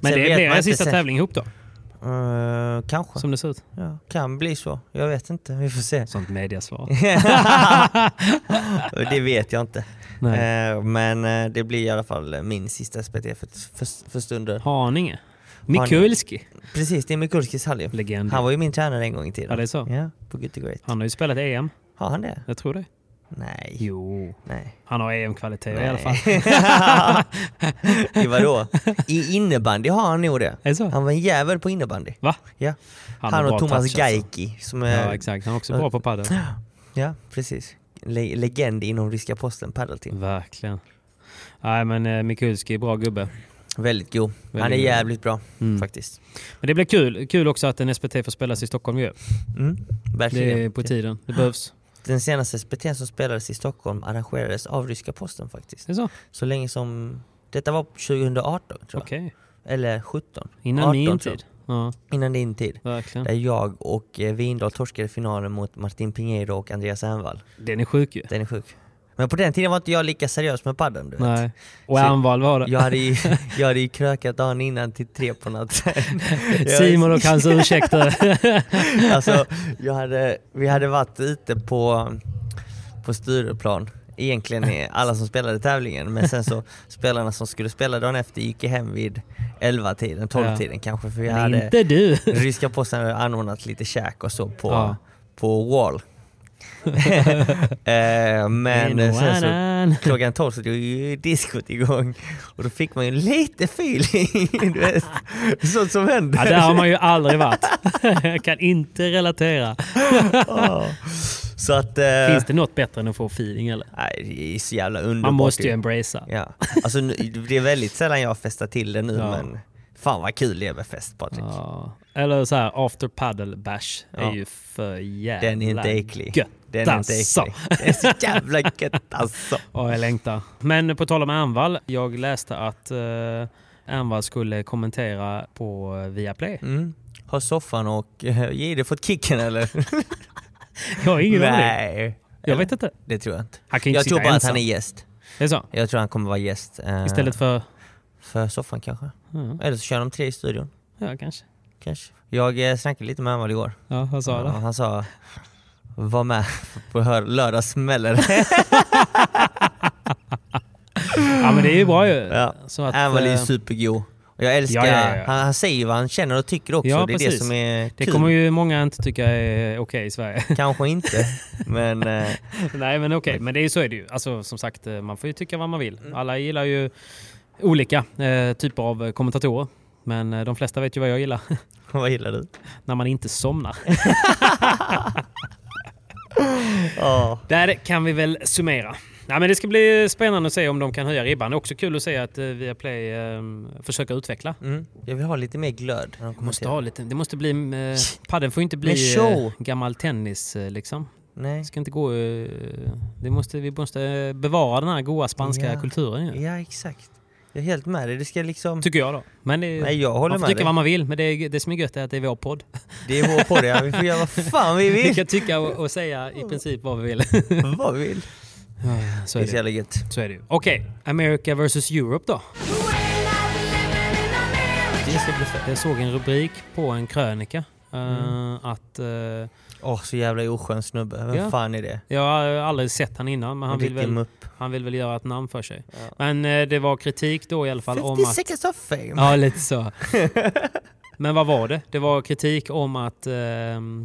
S3: Men
S2: Sen
S3: det
S2: vet
S3: blir
S2: man
S3: er
S2: inte
S3: sista
S2: sen-
S3: tävling ihop då,
S2: Eh, kanske.
S3: som det ser ut.
S2: Ja, kan bli så. Jag vet inte. Vi får se.
S3: Sånt mediasvar.
S2: det vet jag inte.
S3: Nej.
S2: Eh, men eh, det blir i alla fall min sista SPT för, för, för stunden.
S3: Haninge. Mikulski.
S2: Precis, det är Mikulskis hall ju.
S3: Legend.
S2: Han var ju min tränare en gång i tiden.
S3: Ja, det är så.
S2: Ja, på Good to Great.
S3: Han har ju spelat EM.
S2: Har han det?
S3: Jag tror det.
S2: Nej.
S3: Jo.
S2: Nej.
S3: Han har EM-kvaliteter i alla fall.
S2: fall. Vadå? I innebandy har han nog det.
S3: Är det så?
S2: Han var en jävel på innebandy.
S3: Va?
S2: Ja.
S3: Han
S2: Han,
S3: har bra
S2: och Thomas
S3: touch, alltså.
S2: Gaiki som är...
S3: Ja, exakt. Han är också bra på padel.
S2: Ja, precis. Le- legend inom ryska posten padelteam.
S3: Mm. Verkligen. Nej, men eh, Mikulski är bra gubbe.
S2: Väldigt god. han är
S3: god. Mm.
S2: jävligt bra faktiskt.
S3: Men det blir kul. Kul också att en SPT får spelas i Stockholm ju.
S2: Mm, verkligen.
S3: Det är på tiden. Det behövs.
S2: Den senaste SPT som spelades i Stockholm arrangerades av ryska posten faktiskt.
S3: Det är så?
S2: Så länge som... Detta var 2018 tror jag.
S3: Okej.
S2: Eller 17.
S3: Innan
S2: 18,
S3: min
S2: tror jag.
S3: tid. Ja,
S2: Innan din tid.
S3: verkligen.
S2: Där jag och eh, Windahl torskade finalen mot Martin Pinheiro och Andreas Envall.
S3: Den är sjuk ju.
S2: Den är sjuk. Men på den tiden var inte jag lika seriös med padden du vet.
S3: Nej. Och
S2: Så-
S3: Anvall var det.
S2: Jag hade, ju, jag hade ju krökat dagen innan till tre på natten. Jag-
S3: Simon och hans ursäkter.
S2: Alltså, jag hade, vi hade varit ute på, på Stureplan, egentligen är alla som spelade tävlingen, men sen så spelarna som skulle spela dagen efter gick ju hem vid 11-tiden, 12-tiden kanske, för vi
S3: Men
S2: hade,
S3: inte du.
S2: ryska posten hade anordnat lite käk och så på,
S3: Ja.
S2: på Wall. eh, men sen så
S3: Inwanan.
S2: klockan 12 så drog ju diskot igång och då fick man ju lite feeling, du vet. Sånt som händer.
S3: Ja, där har man ju aldrig varit. Jag kan inte relatera.
S2: Ja. Så att... eh,
S3: Finns det något bättre än att få feeling eller?
S2: Nej, det är så jävla underbart.
S3: Man måste ju
S2: ju.
S3: embracea.
S2: Ja. Alltså, nu- det är väldigt sällan jag festar till det nu
S3: Ja.
S2: men fan vad kul det är med fest Patrik.
S3: Ja. Eller så här, after paddle bash är
S2: Ja.
S3: ju för jävla
S2: Den är inte äcklig.
S3: gött
S2: Den är inte
S3: alltså.
S2: äcklig. Det är så jävla gött alltså.
S3: Ja, jag längtar. Men på tal om Anvall, jag läste att eh, Anvall skulle kommentera på eh, Viaplay.
S2: Mm. Har soffan och eh, Jihde fått kicken eller?
S3: Jag har ingen aning.
S2: Nej,
S3: Jag vet inte.
S2: det tror jag inte.
S3: Han kan ju inte
S2: Jag tror
S3: sitta
S2: bara att
S3: ensam.
S2: han är gäst.
S3: Det är så?
S2: Jag tror han kommer vara gäst. eh,
S3: Istället för... Mm.
S2: för soffan kanske.
S3: Ja,
S2: Eller så kör de tre i studion.
S3: ja kanske.
S2: Kanske. Jag eh, snackade lite med Anvald igår.
S3: Ja, vad sa
S2: Ja,
S3: du?
S2: han sa var med på hör- lördag smäller det."
S3: Ja, men det är ju bra ju.
S2: ja.
S3: Så att,
S2: Han var ju
S3: eh,
S2: supergo. Och jag älskar,
S3: Ja, ja, ja.
S2: Han, han säger vad han känner och tycker också.
S3: Ja,
S2: det är
S3: precis.
S2: det som är
S3: det
S2: kul.
S3: kommer ju många inte tycka är okej i Sverige.
S2: Kanske inte, men eh,
S3: Nej men okej, men det är ju, så är det ju. Alltså, som sagt, eh, man får ju tycka vad man vill.
S2: Mm.
S3: Alla gillar ju olika eh, typer av eh, kommentatorer. Men eh, de flesta vet ju vad jag gillar.
S2: vad gillar du?
S3: När man inte somnar.
S2: Ja,
S3: Där kan vi väl summera. Nej, men det ska bli spännande att se om de kan höja ribban. Det är också kul att se att eh, Viaplay eh, försöker utveckla.
S2: mm. Jag vill ha lite mer glöd. När de
S3: Vi Måste
S2: kommenterar.
S3: ha lite, det måste bli... Eh, padden får ju inte
S2: Men
S3: bli eh,
S2: show!
S3: gammal tennis eh, liksom. Det
S2: Nej.
S3: ska inte gå... Eh, det måste, vi måste eh, bevara den här goa spanska
S2: Ja.
S3: kulturen ju.
S2: Ja, exakt. Jag är helt med dig. Det ska liksom...
S3: Tycker jag då. Men det,
S2: Nej, jag håller
S3: man får
S2: med
S3: tycka
S2: dig.
S3: vad man vill, men det, är- det som är gött är att det är vår podd.
S2: Det är vår podd, ja. Vi får göra vad fan vi
S3: Vi
S2: vill.
S3: kan tycka och, och säga i princip vad vi vill.
S2: Vad vi vill.
S3: Så
S2: Det är
S3: är
S2: så
S3: det,
S2: jävla gött.
S3: så är det ju. Okej, America vs Europe då.
S2: Det ska bli fett.
S3: Jag såg en rubrik på en krönika Eh,
S2: Mm.
S3: Att, eh,
S2: Åh, så jävla oskön snubbe. Vem
S3: Ja.
S2: fan är det?
S3: jag har aldrig sett han innan men han
S2: En
S3: vill,
S2: riktig
S3: väl,
S2: mupp.
S3: han vill väl göra ett namn för sig. Men eh, det var kritik då i alla fall om
S2: 50
S3: att...
S2: seconds of fame.
S3: Ja, lite så. Men vad var det? Det var kritik om att eh,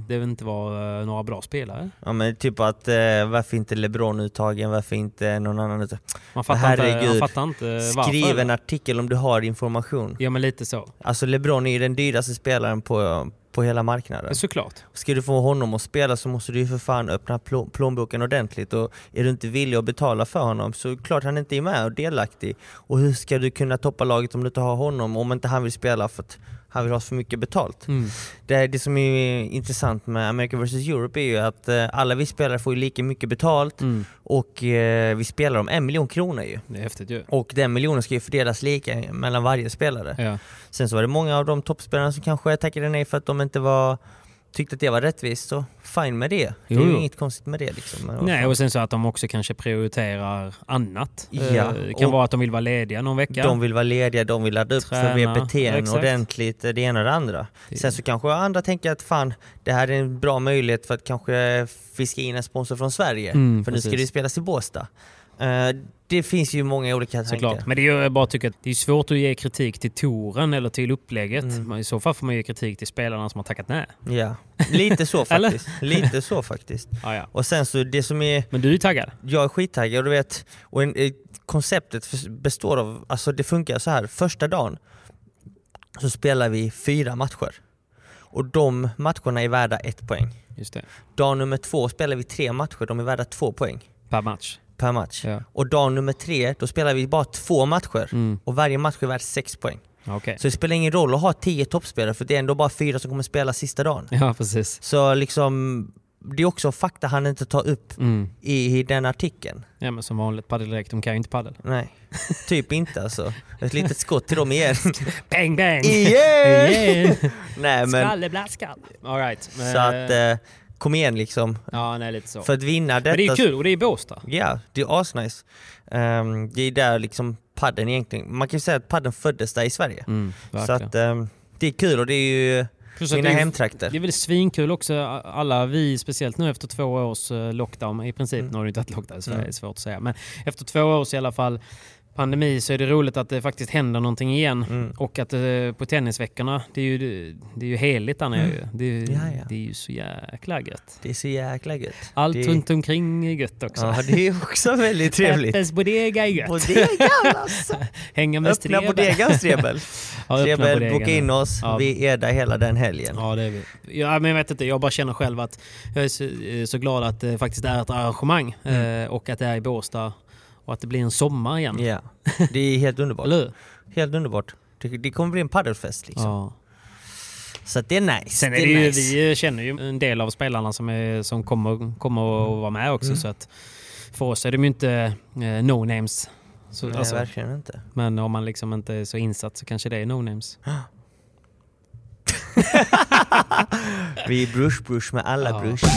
S3: det inte var eh, några bra spelare.
S2: Ja men typ att eh, varför inte LeBron uttagen, varför inte någon annan uttagen?
S3: Man fattar inte, man
S2: Herregud.
S3: fattar inte Eh, varför.
S2: Skriv en artikel om du har information.
S3: Ja, men lite så.
S2: Alltså LeBron är ju den dyraste spelaren på, på hela marknaden.
S3: Såklart.
S2: Ska du få honom att spela så måste du ju för fan öppna plå- plånboken ordentligt och är du inte villig att betala för honom så är det klart han inte är med och delaktig. Och hur ska du kunna toppa laget om du inte har honom om inte han vill spela för att han vill ha så mycket betalt. Det, det som är intressant med America vs Europe är ju att eh, alla vi spelare får ju lika mycket betalt och eh, vi spelar om en miljon kronor ju.
S3: Det är häftigt ju.
S2: Och den miljonen ska ju fördelas lika mellan varje spelare.
S3: Ja.
S2: Sen så var det många av de toppspelarna som kanske tackade nej för att de inte var tyckte att det var rättvist, så fine med det. Det
S3: Jo,
S2: är ju
S3: jo.
S2: inget konstigt med det liksom. Men vad
S3: Nej,
S2: fan.
S3: och sen så att de också kanske prioriterar annat.
S2: Ja,
S3: Eh, Det kan
S2: och-
S3: vara att de vill vara lediga någon vecka.
S2: De vill vara lediga, de vill ladda upp
S3: Träna,
S2: för VPT'n
S3: exakt.
S2: ordentligt, det ena och det andra. Sen så kanske andra tänker att fan, det här är en bra möjlighet för att kanske fiska in en sponsor från Sverige.
S3: Mm,
S2: för nu
S3: precis.
S2: ska det spelas i Båstad. Eh, det finns ju många olika tankar.
S3: Såklart. Men det är ju, jag bara tycker att det är svårt att ge kritik till touren eller till upplägget.
S2: Mm.
S3: Men I så fall får man ge kritik till spelarna som har tackat nej.
S2: Ja, lite så
S3: Eller?
S2: faktiskt. lite så faktiskt.
S3: Ah, ja.
S2: Och sen så det som är
S3: Men du är taggad?
S2: jag är skittaggad och du vet, och en, eh, konceptet förs- består av, alltså det funkar så här, första dagen så spelar vi fyra matcher. Och de matcherna är värda ett poäng.
S3: Just det.
S2: Dag nummer två spelar vi tre matcher, de är värda två poäng
S3: Per match.
S2: per match.
S3: Ja. Mm.
S2: Och dag nummer tre, då spelar vi bara två matcher och varje match är värd sex poäng.
S3: Okej.
S2: Så det spelar ingen roll att ha tio toppspelare för det är ändå bara fyra som kommer spela sista dagen.
S3: Ja, precis.
S2: Så liksom, det är också fakta han inte tar upp
S3: Mm.
S2: i, i den artikeln.
S3: Ja, men som vanligt. Paddeldirekt, de kan ju inte paddel.
S2: Nej, typ inte alltså. Ett litet skott till dem igen.
S3: Bang, bang!
S2: igen! Nej men,
S3: Skalleblaskan. All right. Men,
S2: så att eh, kom igen liksom.
S3: ja, nej, lite så.
S2: För att vinna detta... Mm.
S3: men det är kul och det är i Båstad.
S2: Ja, det är asnice. Ehm, det är där liksom padden egentligen, man kan ju säga att padden föddes där i Sverige. så
S3: Mm, verkligen.
S2: att ehm, det är kul och det är ju
S3: Plus att
S2: mina
S3: det är-
S2: hemtrakter.
S3: Det är väl svinkul också, alla vi, speciellt nu efter två års eh, lockdown, i princip,
S2: Mm.
S3: nu har det inte varit lockdown i Sverige, det är svårt att säga, men efter två års i alla fall pandemi så är det roligt att det faktiskt händer någonting igen.
S2: Mm.
S3: Och att eh, på tennisveckorna, det är ju, det är ju heligt där nere ju. Det, är ju-
S2: Mm. Ja, ja.
S3: det är ju så jäkla gött.
S2: Det är så jäkla gött.
S3: Allt
S2: det...
S3: runt omkring är gött också.
S2: Ja, det är också väldigt trevligt.
S3: Peppes bodega är
S2: Och
S3: gött.
S2: det är jävla alltså.
S3: Hänga med
S2: Öppna
S3: Strebe.
S2: bodegan Strebel.
S3: Ja, öppna
S2: Strebel,
S3: bodegan,
S2: boka in
S3: ja.
S2: oss.
S3: Ja.
S2: Vi är där hela den helgen.
S3: Ja, det är vi. Ja, men jag vet inte, jag bara känner själv att jag är så, eh, så glad att det faktiskt är ett arrangemang eh, och att det är i Båstad och att det blir en sommar igen.
S2: Mm. Ja, det är helt underbart.
S3: Eller hur?
S2: Helt underbart. Det, det kommer bli en padelfest liksom.
S3: Ja.
S2: Så att det är nice.
S3: Sen är det ju,
S2: nice.
S3: vi känner ju en del av spelarna som, är, som kommer, kommer
S2: Mm.
S3: att vara med också. Så att för oss är de ju inte eh, no-names. Så,
S2: Nej,
S3: alltså,
S2: verkligen inte.
S3: men om man liksom inte är så insatt så kanske det är no-names.
S2: Vi är brush brush med alla brush.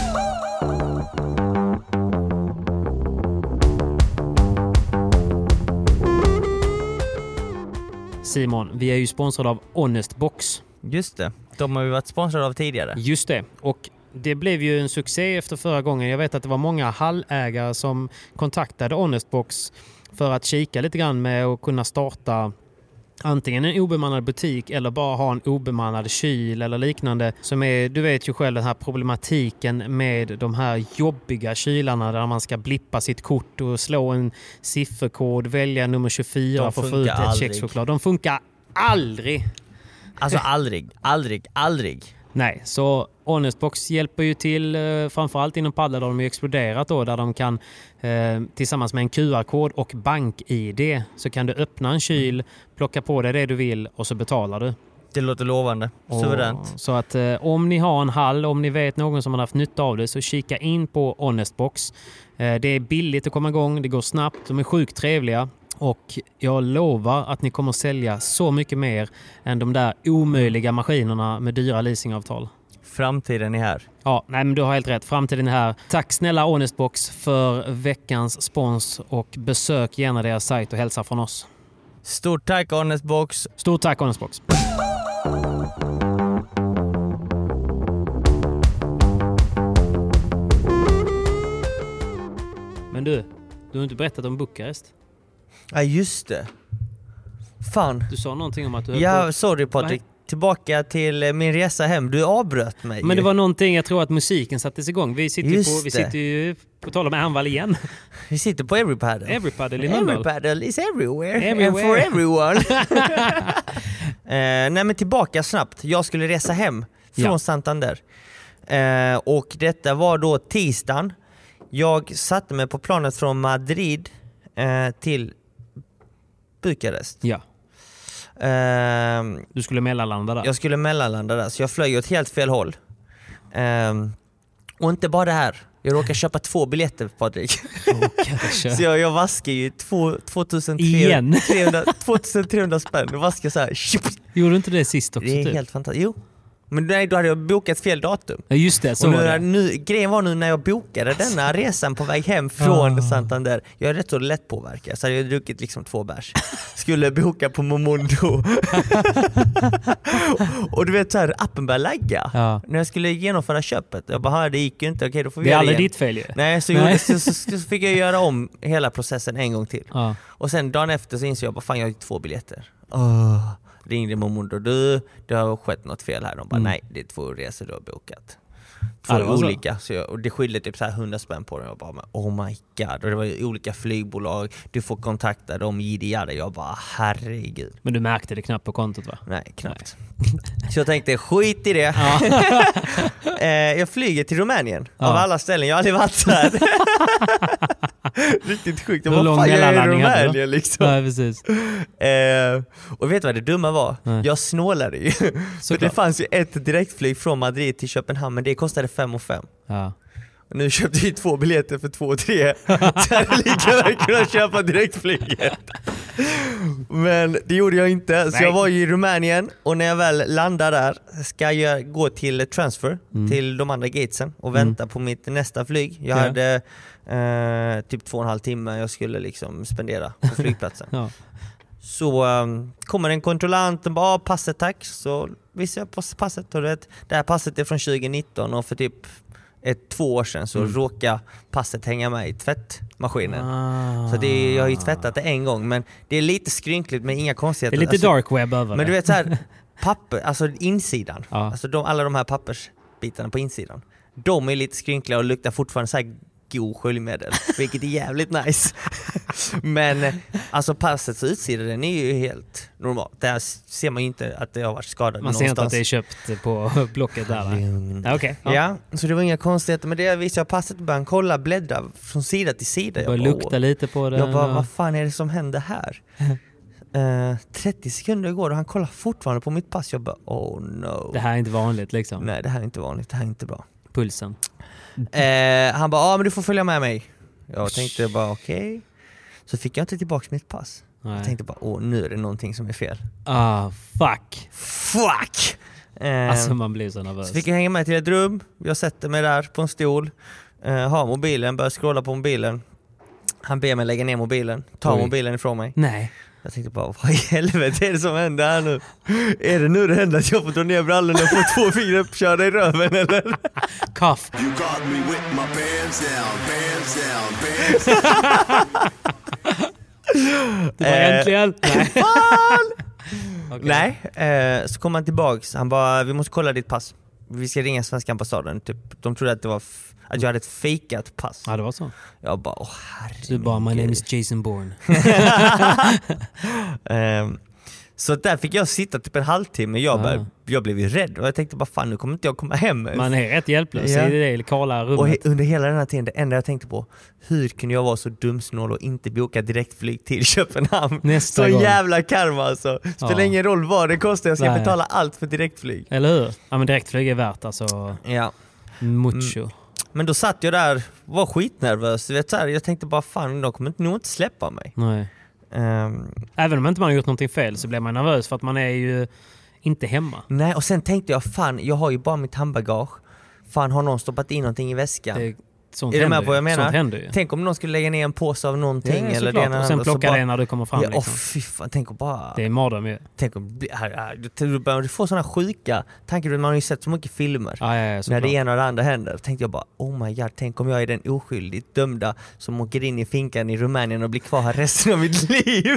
S3: Simon, vi är ju sponsrade av Honest Box.
S2: Just det. De har vi varit sponsrade av tidigare.
S3: Just det. Och det blev ju en succé efter förra gången. Jag vet att det var många hallägare som kontaktade Honestbox för att kika lite grann med att kunna starta antingen en obemannad butik eller bara ha en obemannad kyl eller liknande. Som är, du vet ju själv den här problematiken med de här jobbiga kylarna där man ska blippa sitt kort och slå en sifferkod, välja nummer 24
S2: De
S3: för att få
S2: funkar
S3: ut ett
S2: aldrig.
S3: kexchoklad. De funkar aldrig!
S2: Alltså aldrig, aldrig, aldrig.
S3: Nej, så Honestbox hjälper ju till eh, framförallt inom padel där de ju exploderat då där de kan eh, tillsammans med en QR-kod och bank-id så kan du öppna en kyl, plocka på dig det du vill och så betalar du.
S2: Det låter lovande. Suveränt.
S3: Och- Så att eh, om ni har en hall, om ni vet någon som har haft nytta av det så kika in på Honestbox. Eh, det är billigt att komma igång, det går snabbt, de är sjukt trevliga. Och jag lovar att ni kommer sälja så mycket mer än de där omöjliga maskinerna med dyra leasingavtal.
S2: Framtiden är här.
S3: Ja, nej men du har helt rätt. Framtiden är här. Tack snälla Honestbox för veckans spons och besök gärna deras sajt och hälsa från oss.
S2: Stort tack Honest Box.
S3: Stort tack Honestbox! du, du har inte berättat om Bukarest.
S2: Ja just det. Fan.
S3: Du sa någonting om att du höll
S2: Ja,
S3: på.
S2: sorry Patrik. Tillbaka till eh, min resa hem. Du avbröt mig
S3: Men det
S2: ju.
S3: var någonting, jag tror att musiken sattes igång. Vi sitter ju
S2: Just
S3: på, vi
S2: det.
S3: sitter ju, på tal om Ärnvall igen,
S2: Vi sitter på Everypaddle.
S3: Everypaddle i Mölndal.
S2: Everypaddle is everywhere. And
S3: Everywhere.
S2: for everyone. eh, nej men tillbaka snabbt. Jag skulle resa hem från
S3: Ja.
S2: Santander. Eh, och detta var då tisdagen. Jag satte mig på planet från Madrid eh, till Bukarest.
S3: Ja,
S2: Ehm,
S3: du skulle mellanlanda där.
S2: jag skulle mellanlanda där, så jag flög åt helt fel håll. Ehm, och inte bara det här. Jag råkade köpa två biljetter Patrik.
S3: Kanske.
S2: Så jag, jag vaskar ju två- 2300,
S3: Igen.
S2: 300, 2300 spänn. Jag vaskar så här. tjup.
S3: Gjorde du inte det sist också?
S2: Det är
S3: typ?
S2: helt fantastiskt. Jo. Men nej, då hade jag bokat fel datum.
S3: Ja just det, så
S2: och nu,
S3: var det. Alltså.
S2: Nu, grejen var nu när jag bokade denna resan på väg hem
S3: Ah.
S2: från Santander. Jag är rätt så lättpåverkad så hade jag druckit liksom två bärs. Skulle boka på Momondo. och du vet så här, appen började lagga.
S3: Ja.
S2: När jag skulle genomföra köpet. Jag bara, "Ah, det gick ju inte. Okej, då får vi
S3: Det är
S2: göra
S3: aldrig
S2: igen."
S3: ditt fel ju.
S2: Nej, så,
S3: Nej.
S2: gjorde- Så, så, så fick jag göra om hela processen en gång till.
S3: Ja.
S2: Och sen dagen efter så insåg jag bara fan jag har ju två biljetter. Åh, ringde mormor och du, det har skett något fel här. De bara
S3: Mm.
S2: nej det är två resor du har bokat. Två
S3: Ja, det var så.
S2: olika. Så jag, och det skilde typ så här 100 spänn på dem. Jag bara men oh my god. Och det var ju olika flygbolag, du får kontakta dem, jiddi jadda. Jag bara herregud.
S3: Men du märkte det knappt på kontot va?
S2: Nej, knappt. Så jag tänkte, skit i det. Eh, jag flyger till Rumänien, av
S3: Ja.
S2: alla ställen. Jag har aldrig varit där. Riktigt sjukt. Jag
S3: Hur
S2: bara,
S3: lång
S2: fan jag är i
S3: mellanlandning hade du?
S2: Rumänien liksom.
S3: Nej precis.
S2: Eh, och vet du vad det dumma var?
S3: Nej.
S2: Jag snålade ju. För det
S3: Såklart.
S2: fanns ju ett direktflyg från Madrid till Köpenhamn, men det kostade 5 och 5.
S3: Ja.
S2: Och nu köpte vi två biljetter för 2 och 3. Så jag hade lika väl kunnat köpa direktflyget. Men det gjorde jag inte, så jag var ju i Rumänien och när jag väl landar där ska jag gå till transfer, till de andra gatesen och vänta på mitt nästa flyg. Jag
S3: Mm. Ja.
S2: hade eh, typ två och en halv timme jag skulle liksom spendera på flygplatsen.
S3: Ja.
S2: Så um, kommer en kontrollant och bara "Ah, “passet tack” så visar jag på passet och du vet, det här passet är från 2019 och för typ ett, två år sedan
S3: Mm.
S2: så råkade passet hänga med i tvättmaskinen.
S3: Ah.
S2: Så det är, jag har ju tvättat det en gång men det är lite skrynkligt men inga
S3: Det
S2: konstigheter.
S3: är lite
S2: Alltså,
S3: dark web över
S2: Men
S3: det.
S2: du vet såhär, papper, alltså insidan,
S3: Ja.
S2: alltså de, alla de här pappersbitarna på insidan. De är lite skrynkliga och luktar fortfarande såhär god sköljmedel, vilket är jävligt nice. Men alltså passets utsida den är ju helt normal. Där ser man ju inte att det har varit skadat
S3: Man ser
S2: någonstans.
S3: inte att det är köpt på Blocket där. va?
S2: Lugn.
S3: Ja, Okej.
S2: Ja. så det var inga konstigheter. Men det visade jag passet och började kolla, bläddra från sida till sida.
S3: Det
S2: Jag
S3: börjar
S2: bara,
S3: lukta lite på det.
S2: jag bara, vad fan är det som händer här? Eh, 30 sekunder går och han kollar fortfarande på mitt pass. Jag bara, oh no.
S3: Det här är inte vanligt liksom.
S2: Nej, det här är inte vanligt. Det här är inte bra.
S3: Pulsen.
S2: Eh, han bara, ja ah, men du får följa med mig. Jag tänkte bara, okej. Så fick jag inte tillbaka mitt pass.
S3: Nej.
S2: Jag tänkte bara, åh nu är det någonting som är fel.
S3: Ah, fuck.
S2: Fuck! Eh,
S3: Alltså man blir så nervös.
S2: Så fick jag hänga med till ett rum, jag sätter mig där på en stol, eh, har mobilen, börjar scrolla på mobilen. Han ber mig lägga ner mobilen, tar
S3: Oj.
S2: mobilen ifrån mig.
S3: Nej.
S2: Jag tänkte bara, vad i helvete är det som händer här nu? Är det nu det händer att jag får dra ner brallorna och få två fingrar uppkörda i röven eller?
S3: Kaff.
S6: You caught me with my pants down, pants down, pants down.
S3: Det var
S2: Eh.
S3: äntligen. Nej.
S2: Nej, eh, så kom han tillbaks, han bara, vi måste kolla ditt pass. Vi ska ringa svenska ambassaden, typ. de trodde att, det var f- att jag hade ett fejkat pass.
S3: Ja det var så.
S2: Jag bara, åh
S3: Du
S2: herregud.
S3: bara, my name is Jason Bourne.
S2: Ehm, så där fick jag sitta typ en halvtimme, jag, bara,
S3: Ah.
S2: jag blev ju rädd och jag tänkte bara fan nu kommer inte jag komma hem ens.
S3: Man är rätt hjälplös
S2: Ja.
S3: i det kala
S2: och
S3: rummet.
S2: he- under hela den här tiden, det enda jag tänkte på, hur kunde jag vara så dumsnål och inte boka direktflyg till Köpenhamn?
S3: Nästa
S2: så
S3: gång.
S2: jävla karma alltså. Spelar
S3: Ja.
S2: ingen roll vad det kostar, jag ska
S3: Nej.
S2: betala allt för direktflyg.
S3: Eller hur? Ja men direktflyg är värt alltså
S2: Ja.
S3: mucho.
S2: Men då satt jag där, var skitnervös, du vet, så här, jag tänkte bara fan de kommer nog inte släppa mig.
S3: Nej.
S2: Ehm,
S3: Även om inte man har gjort någonting fel så blir man nervös för att man är ju inte hemma.
S2: Nej, och sen tänkte jag fan, jag har ju bara mitt handbagage. Fan, har någon stoppat in någonting i väskan?
S3: Det sånt
S2: Är du med
S3: händer
S2: på vad jag
S3: ju. Sånt
S2: menar?
S3: händer ju.
S2: Tänk om någon skulle lägga ner en påse av någonting
S3: Ja,
S2: eller
S3: såklart.
S2: ena
S3: Och sen
S2: andra, så
S3: plocka
S2: bara-
S3: det när du kommer fram.
S2: Ja, åh
S3: liksom.
S2: fy fan, tänk att bara...
S3: Det är en mardröm ju.
S2: Tänk om, här, här, du, du börjar få sådana sjuka tankar, man har ju sett så mycket filmer.
S3: Ja, ja, ja,
S2: när
S3: såklart.
S2: det ena och det andra händer. Tänkte jag bara oh my god, tänk om jag är den oskyldigt dömda som åker in i finkan i Rumänien och blir kvar här resten av mitt liv.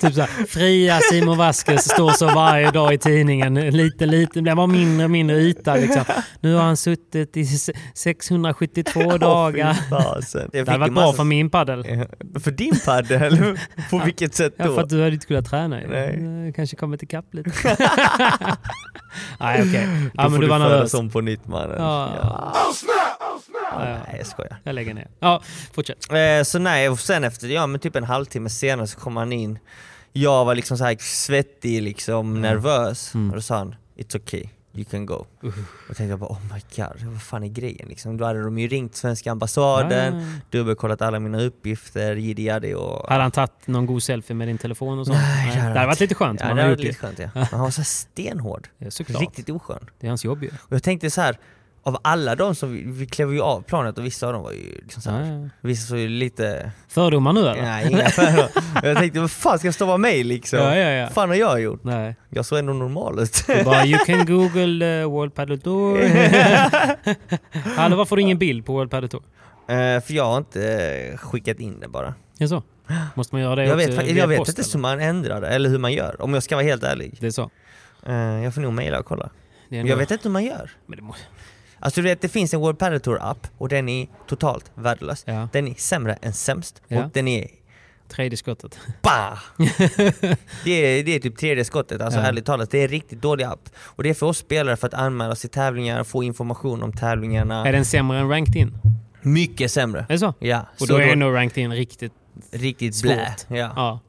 S3: Typ såhär, fria Simon Vasquez står så varje dag i tidningen. Lite, lite, blir bara mindre och mindre yta liksom. Nu har han suttit i se- 672 dagar.
S2: Fy fasen. Jag
S3: Det hade
S2: fick
S3: varit
S2: en
S3: bra
S2: massa-
S3: för min paddel.
S2: För din padel? På vilket sätt
S3: Ja, för
S2: då?
S3: att du hade inte kunnat träna ju.
S2: Nej.
S3: Du Kanske kommit ikapp lite. Nej okej.
S2: då
S3: Ja
S2: får
S3: men du var nervös.
S2: om på nytt mannen.
S3: Ja.
S2: Nej jag skojar.
S3: Jag lägger ner. Ja, fortsätt.
S2: Eh, så nej, och sen efter, ja men typ en halvtimme senare så kom han in. Jag var liksom så här svettig, liksom
S3: Mm.
S2: nervös. Och då sa han “It's okay, you can go”. Och tänkte jag bara “Oh my god, vad fan är grejen?” liksom, Då hade de ju ringt svenska ambassaden,
S3: Ah.
S2: dubbelkollat alla mina uppgifter, jiddi jaddi och...
S3: Hade han tagit någon god selfie med din telefon och sånt?
S2: Nej,
S3: det hade varit lite skönt.
S2: Ja,
S3: man
S2: det
S3: har
S2: hade
S3: gjort
S2: varit lite skönt ja. Men han var så här stenhård.
S3: Ja, såklart.
S2: Riktigt oskön.
S3: Det är hans jobb ju.
S2: Och jag tänkte så här av alla de som, vi, vi klev ju av planet och vissa av dem var ju liksom så här,
S3: Ah, Ja, ja.
S2: vissa såg ju lite
S3: Fördomar nu eller?
S2: Nej, inga fördomar. Jag tänkte, vad fan ska jag stava mig liksom?
S3: Ja, ja, ja.
S2: Vad fan har jag gjort?
S3: Nej.
S2: Jag såg ändå normal ut.
S3: Du bara “You can google uh, World Paddle Tour”. Hallå, varför har du ingen bild på World Paddle Tour?
S2: Eh, För jag har inte eh, skickat in det bara.
S3: Jaså? Måste man göra det
S2: Jag vet,
S3: också
S2: fa-
S3: via
S2: jag vet
S3: post,
S2: inte
S3: eller?
S2: hur man ändrar det, eller hur man gör. Om jag ska vara helt ärlig.
S3: Det är så?
S2: Eh, Jag får nog mejla och kolla.
S3: Det är
S2: Men
S3: nog-
S2: jag vet inte hur man gör.
S3: Men det må...
S2: Alltså du vet, det finns en World Padel Tour app och den är totalt värdelös.
S3: Ja.
S2: Den är sämre än sämst
S3: Ja.
S2: och den är
S3: Tredje skottet.
S2: Bah! det, är, det är typ tredje skottet, alltså
S3: Ja.
S2: ärligt talat. Det är en riktigt dålig app. Och det är för oss spelare för att anmäla oss till tävlingar, få information om tävlingarna.
S3: Är den sämre än ranked in?
S2: Mycket sämre.
S3: Är det så?
S2: Ja, så
S3: Och då är
S2: då-
S3: nog ranked in riktigt
S2: riktigt
S3: svårt.
S2: blä. Ja.
S3: Ja.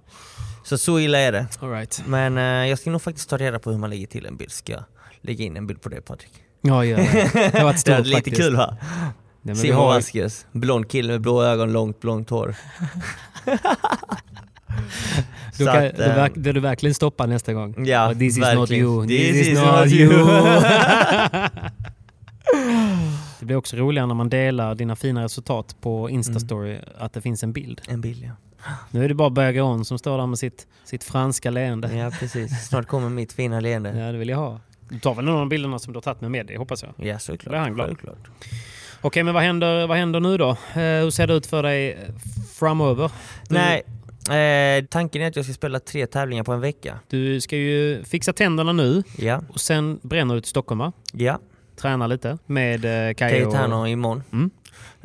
S2: Så så illa är det.
S3: All right.
S2: Men eh, jag ska nog faktiskt ta reda på hur man lägger till en bild. Ska jag lägga in en bild på det Patrik?
S3: Ja, gör det. Det har varit
S2: Det
S3: stort
S2: är lite
S3: faktiskt.
S2: kul va?
S3: Nej, men vi
S2: Simon
S3: har...
S2: Vasquez, blond kille med blå ögon, långt blont hår.
S3: Du
S2: Så
S3: kan,
S2: att,
S3: du
S2: eh,
S3: verk, det du verkligen stoppar nästa gång.
S2: Ja,
S3: Och this is not
S2: verkligen.
S3: you.
S2: This is not you.
S3: det blir också roligare när man delar dina fina resultat på Instastory, att det finns en bild.
S2: En bild ja.
S3: Nu är det bara Bergeron som står där med sitt, sitt franska leende.
S2: Ja precis. Snart kommer mitt fina leende.
S3: Ja, det vill jag ha. Du tar väl någon av bilderna som du har tagit med med dig, hoppas jag.
S2: Ja
S3: Då är
S2: såklart.
S3: han glad.
S2: Självklart.
S3: Okej, men vad händer, vad händer nu då? Eh, hur ser det ut för dig eh, framöver? Du,
S2: Nej, eh, tanken är att jag ska spela tre tävlingar på en vecka.
S3: Du ska ju fixa tänderna nu
S2: Ja,
S3: och sen bränner du till Stockholm, va?
S2: ja.
S3: Träna lite med eh, Kaj och...
S2: Cayetano imorgon.
S3: Mm.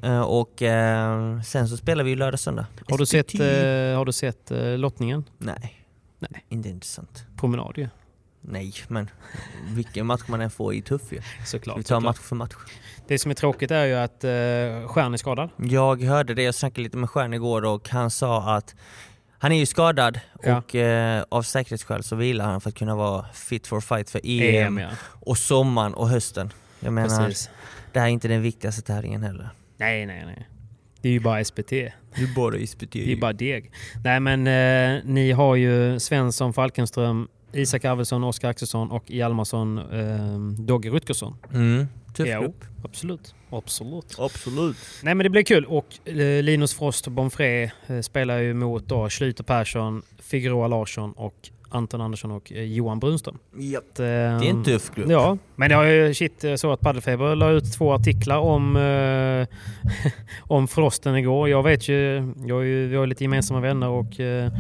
S2: Eh, och eh, sen så spelar vi ju lördag söndag.
S3: Har du sett,
S2: SPT?
S3: eh, har du sett eh, lottningen?
S2: Nej.
S3: Nej.
S2: Inte intressant.
S3: Promenad ju.
S2: Nej, men vilken match man än får är tuff ju.
S3: Såklart.
S2: Vi tar
S3: såklart.
S2: match för match.
S3: Det som är tråkigt är ju att eh, Stjärn är skadad.
S2: Jag hörde det, jag snackade lite med Stjärn igår och han sa att han är ju skadad
S3: Ja.
S2: och eh, av säkerhetsskäl så vilar han för att kunna vara fit for fight för EM,
S3: ja.
S2: och sommaren och hösten. Jag menar,
S3: Precis.
S2: det här är inte den viktigaste tävlingen heller.
S3: Nej, nej, nej. Det är ju bara SPT.
S2: Du bara disputerar
S3: Det är bara deg. Nej, men eh, ni har ju Svensson, Falkenström, Isak Arvidsson, Oskar Axelsson och Hjalmarsson, eh, Dogge Rutgersson.
S2: Mm. Tuff
S3: Ja,
S2: grupp.
S3: absolut. Absolut.
S2: Absolut.
S3: Nej men det blir kul och eh, Linus Frost och Bonfré eh, spelar ju mot då Schlüter Persson, Figueroa Larsson och Anton Andersson och eh, Johan Brunström. eh,
S2: Japp.
S3: Det
S2: Det är en tuff grupp.
S3: Mm. Ja, men det har ju shit jag såg att Paddelfeber la ut två artiklar om, eh, om Frosten igår. Jag vet ju, jag är ju, vi har ju lite gemensamma vänner och eh,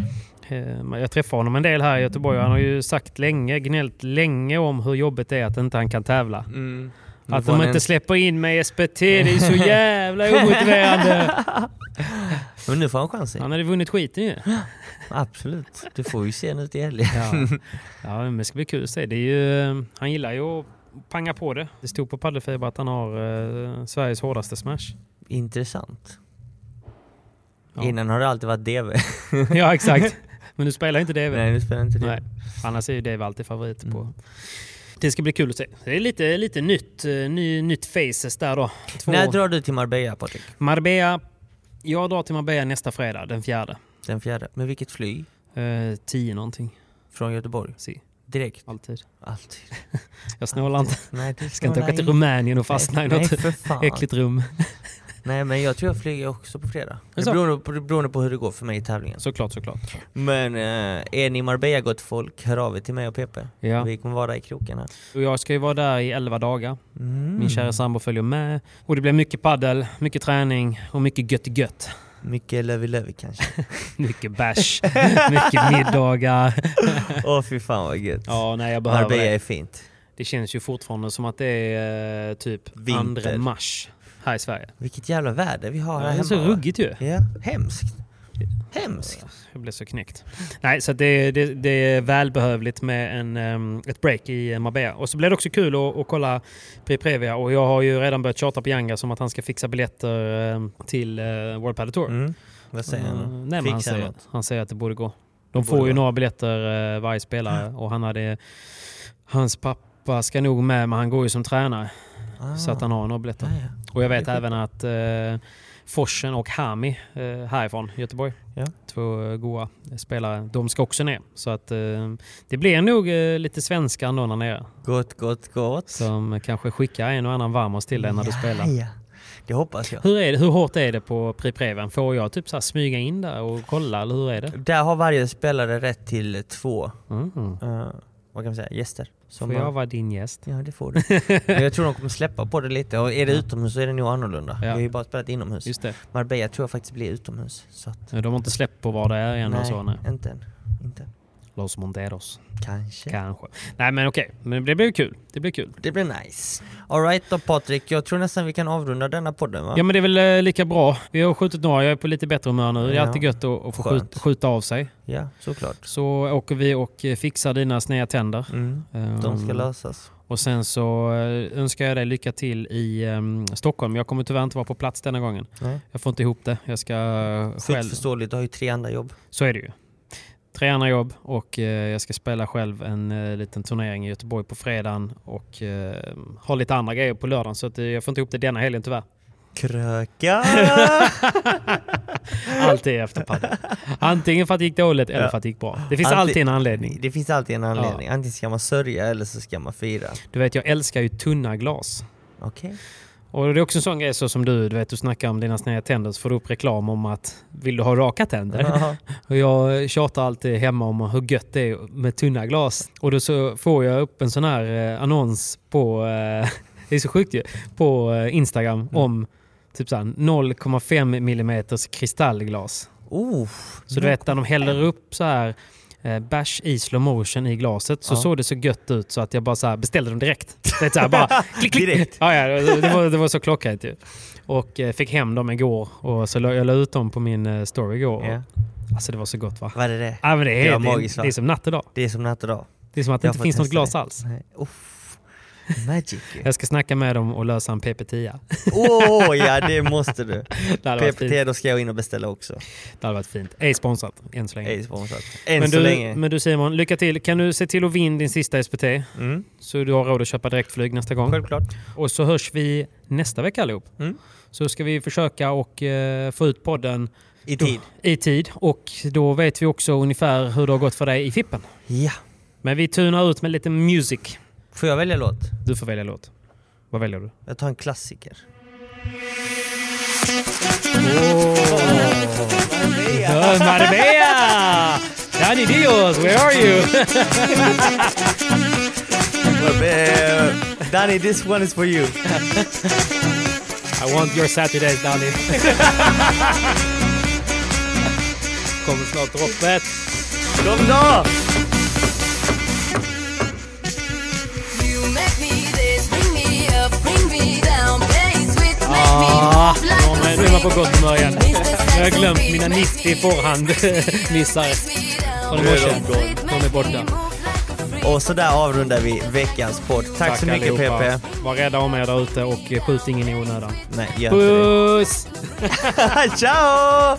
S3: eh, jag träffar honom en del här i Göteborg. Han har ju sagt länge, gnällt länge om hur jobbigt det är att inte han kan tävla.
S2: Mm. Nu
S3: Att
S2: får
S3: de
S2: han
S3: inte släpper in mig i SPT, det är så jävla omotiverande.
S2: en... Men nu får han chansen.
S3: Han hade vunnit skiten ju.
S2: Absolut. Du får vi se nu till helgen.
S3: Ja. ja, men det ska bli kul att se. Det är ju, han gillar ju att panga på det. Det stod på Padelfiber att han har eh, Sveriges hårdaste smash.
S2: Intressant.
S3: Ja.
S2: Innan har det alltid varit DV.
S3: ja, exakt. Men du spelar inte DV.
S2: Nej, Mm. nu spelar inte det.
S3: Nej. Annars är ju DV alltid favorit på... Det ska bli kul att se. Det är lite, lite nytt, eh, ny, nytt faces där då. Två.
S2: När drar du till Marbella Patrik?
S3: Marbella. Jag drar till Marbella nästa fredag, den fjärde.
S2: Den fjärde. Med vilket flyg?
S3: Eh, tio någonting.
S2: Från Göteborg?
S3: Si,
S2: Direkt?
S3: alltid.
S2: Alltid.
S3: Jag snålar inte.
S2: Nej, du
S3: Ska inte åka till Rumänien och fastna i
S2: Nej,
S3: något
S2: för fan.
S3: äckligt rum.
S2: Nej men jag tror jag flyger också på fredag. Det
S3: så?
S2: beror, på, det beror på hur det går för mig i tävlingen.
S3: Såklart, såklart.
S2: Men eh, är ni i Marbella gott folk, hör av er till mig och Pepe.
S3: Ja.
S2: Vi kommer vara i kroken här.
S3: Och jag ska ju vara där i 11 dagar.
S2: Mm.
S3: Min kära sambo följer med. Och det blir mycket paddel, mycket träning och mycket gött gött.
S2: Mm, Mycket Lövi Lövi kanske.
S3: Mycket bash, mycket middagar.
S2: Åh fy fan vad gött.
S3: Ja, nej jag behöver
S2: Marbella
S3: det.
S2: är fint.
S3: Det känns ju fortfarande som att det är eh, typ
S2: Vinter.
S3: 2 mars här i Sverige.
S2: Vilket jävla väder vi har
S3: Ja,
S2: här
S3: det är
S2: hemma.
S3: så
S2: va?
S3: ruggigt ju.
S2: Ja, hemskt. Hemskt.
S3: Jag blev så knäckt. Nej, så att det, det, det är välbehövligt med en, ehm, ett break i Marbella. Och så blir det också kul att, att kolla Prix Previa. Och jag har ju redan börjat tjata på Janga som att han ska fixa biljetter ehm, till eh, World Padel Tour.
S2: Mm. Vad säger
S3: Eh,
S2: han?
S3: Nej, men han,
S2: Fixar
S3: säger,
S2: något.
S3: han säger att det borde gå. De
S2: Det
S3: får
S2: borde
S3: ju
S2: gå.
S3: några biljetter eh, varje spelare och han hade... Hans pappa ska nog med men han går ju som tränare.
S2: Ah.
S3: Så att han har några biljetter.
S2: Ja, ja.
S3: Och jag vet även att eh, Forsen och Hami eh, härifrån Göteborg,
S2: Ja.
S3: två eh, goa spelare, de ska också ner. Så att eh, det blir nog eh, lite svenskar ändå där nere.
S2: Gott, gott, gott.
S3: Som kanske skickar en och annan varmos till dig när du spelar.
S2: Ja, ja. Det hoppas jag.
S3: Hur, är det, hur hårt är det på Prix Preven? Får jag typ så här smyga in där och kolla eller hur är det?
S2: Där har varje spelare rätt till två,
S3: Mm.
S2: eh, vad kan man säga, gäster. Som
S3: Får jag
S2: man-
S3: vara din gäst?
S2: Ja det får du. Men jag tror de kommer släppa på det lite och är det utomhus så är det nog annorlunda. Vi har ju bara spelat inomhus.
S3: Just det.
S2: Marbella tror jag faktiskt blir utomhus. Så att,
S3: De har inte släppt på vad det är än och så. Nej.
S2: inte än. Inte än.
S3: Los Monteros,
S2: Kanske.
S3: kanske. Nej men okej, men det blir kul. Det blir kul.
S2: Det blir nice. Alright då Patrik, jag tror nästan vi kan avrunda denna podden va?
S3: Ja men det är väl eh, lika bra. Vi har skjutit några, jag är på lite bättre humör nu. Det är
S2: Ja.
S3: alltid gött att, att få
S2: Skönt.
S3: skjuta, skjuta av sig.
S2: Ja, såklart.
S3: Så åker vi och eh, fixar dina sneda tänder.
S2: Mm. De ska
S3: Ehm,
S2: lösas.
S3: Och sen så eh, önskar jag dig lycka till i ehm, Stockholm. Jag kommer tyvärr inte vara på plats denna gången.
S2: Nej.
S3: Jag får inte ihop det. Jag ska eh,
S2: Fullt
S3: själv.
S2: förståeligt, du har ju tre andra jobb.
S3: Så är det ju. Tre andra jobb och eh, jag ska spela själv en eh, liten turnering i Göteborg på fredagen och eh, ha lite andra grejer på lördagen. Så att, eh, jag får inte ihop det denna helgen tyvärr.
S2: Kröka!
S3: Alltid efter padel. Antingen för att det gick dåligt eller
S2: Ja.
S3: för att det gick bra. Det finns
S2: Alltid-
S3: alltid en anledning.
S2: det finns alltid en anledning. Antingen ska man sörja eller så ska man fira.
S3: Du vet, jag älskar ju tunna glas.
S2: Okej.
S3: Och det är också en sån grej så som du, du vet, du snackar om dina sneda tänder så får du upp reklam om att vill du ha raka tänder?
S2: Jaha.
S3: Och jag tjatar alltid hemma om hur gött det är med tunna glas. Och då så får jag upp en sån här eh, annons på, eh, det är så sjukt ju, på eh, Instagram om typ såhär 0,5 mm kristallglas.
S2: Oh,
S3: Så du vet när de häller upp så här eh, bärs i slow motion i glaset så
S2: Ja.
S3: såg det så gött ut så att jag bara så här beställde dem direkt. Det, är så här, bara, klick, klick.
S2: Direkt.
S3: Ja, ja, det, det, var, det var så klockrent ju. Och eh, fick hem dem igår och så la, jag la ut dem på min eh, story igår.
S2: Ja.
S3: Alltså det var så gott va?
S2: vad är det?
S3: Ja, men det, är,
S2: Det var
S3: det, är-
S2: magiskt, va?
S3: det är som natt och dag.
S2: Det är som natt och dag.
S3: Det är som att det
S2: Jag
S3: inte
S2: får
S3: finns något
S2: testa
S3: glas
S2: det.
S3: alls.
S2: Nej. Uff. Magic ju.
S3: Jag ska snacka med dem och lösa en PP10.
S2: Åh ja, det måste du.
S3: Det hade varit fint. Mm.
S2: PPT, då ska jag in och beställa också.
S3: Det hade varit fint. Ej sponsrat än så länge.
S2: Ej sponsrat. Än
S3: men,
S2: så
S3: du,
S2: länge.
S3: men du Simon, lycka till. Kan du se till att vinna din sista SPT?
S2: Mm.
S3: Så du har råd att köpa direktflyg nästa gång.
S2: Självklart.
S3: Och så hörs vi nästa vecka allihop.
S2: Mm.
S3: Så ska vi försöka och eh, få ut podden
S2: I tid.
S3: i tid. Och då vet vi också ungefär hur det har gått för dig i Fippen.
S2: Ja.
S3: Men vi tunar ut med lite music.
S2: Får jag välja låt?
S3: Du får välja låt. Vad väljer du?
S2: Jag tar en klassiker.
S3: Oh, Madre mia! Danny Dios, where are you?
S2: Eh, Danny, this one is for you.
S3: I want your Saturdays, Danny. Kommer snart droppet.
S2: Kom då!
S7: You make me this, bring me up, bring me down, play sweet, make me
S3: Ah,
S7: move like
S3: nu
S7: a
S3: är man på
S7: freak.
S3: gott humör igen.
S7: Mr.
S3: Jag har glömt
S7: Saxon
S3: mina
S7: Beat,
S3: 90
S7: make me
S3: förhand-missar. Från i
S7: Nu är
S3: morse.
S7: de gone.
S3: De är borta.
S2: Och så där avrundar vi veckans podd. Tack, så mycket
S3: allihopa.
S2: PP.
S3: Var rädda om er där ute och skjut ingen i onödan.
S2: Nej, gör inte det.
S3: Puss!
S2: Ciao!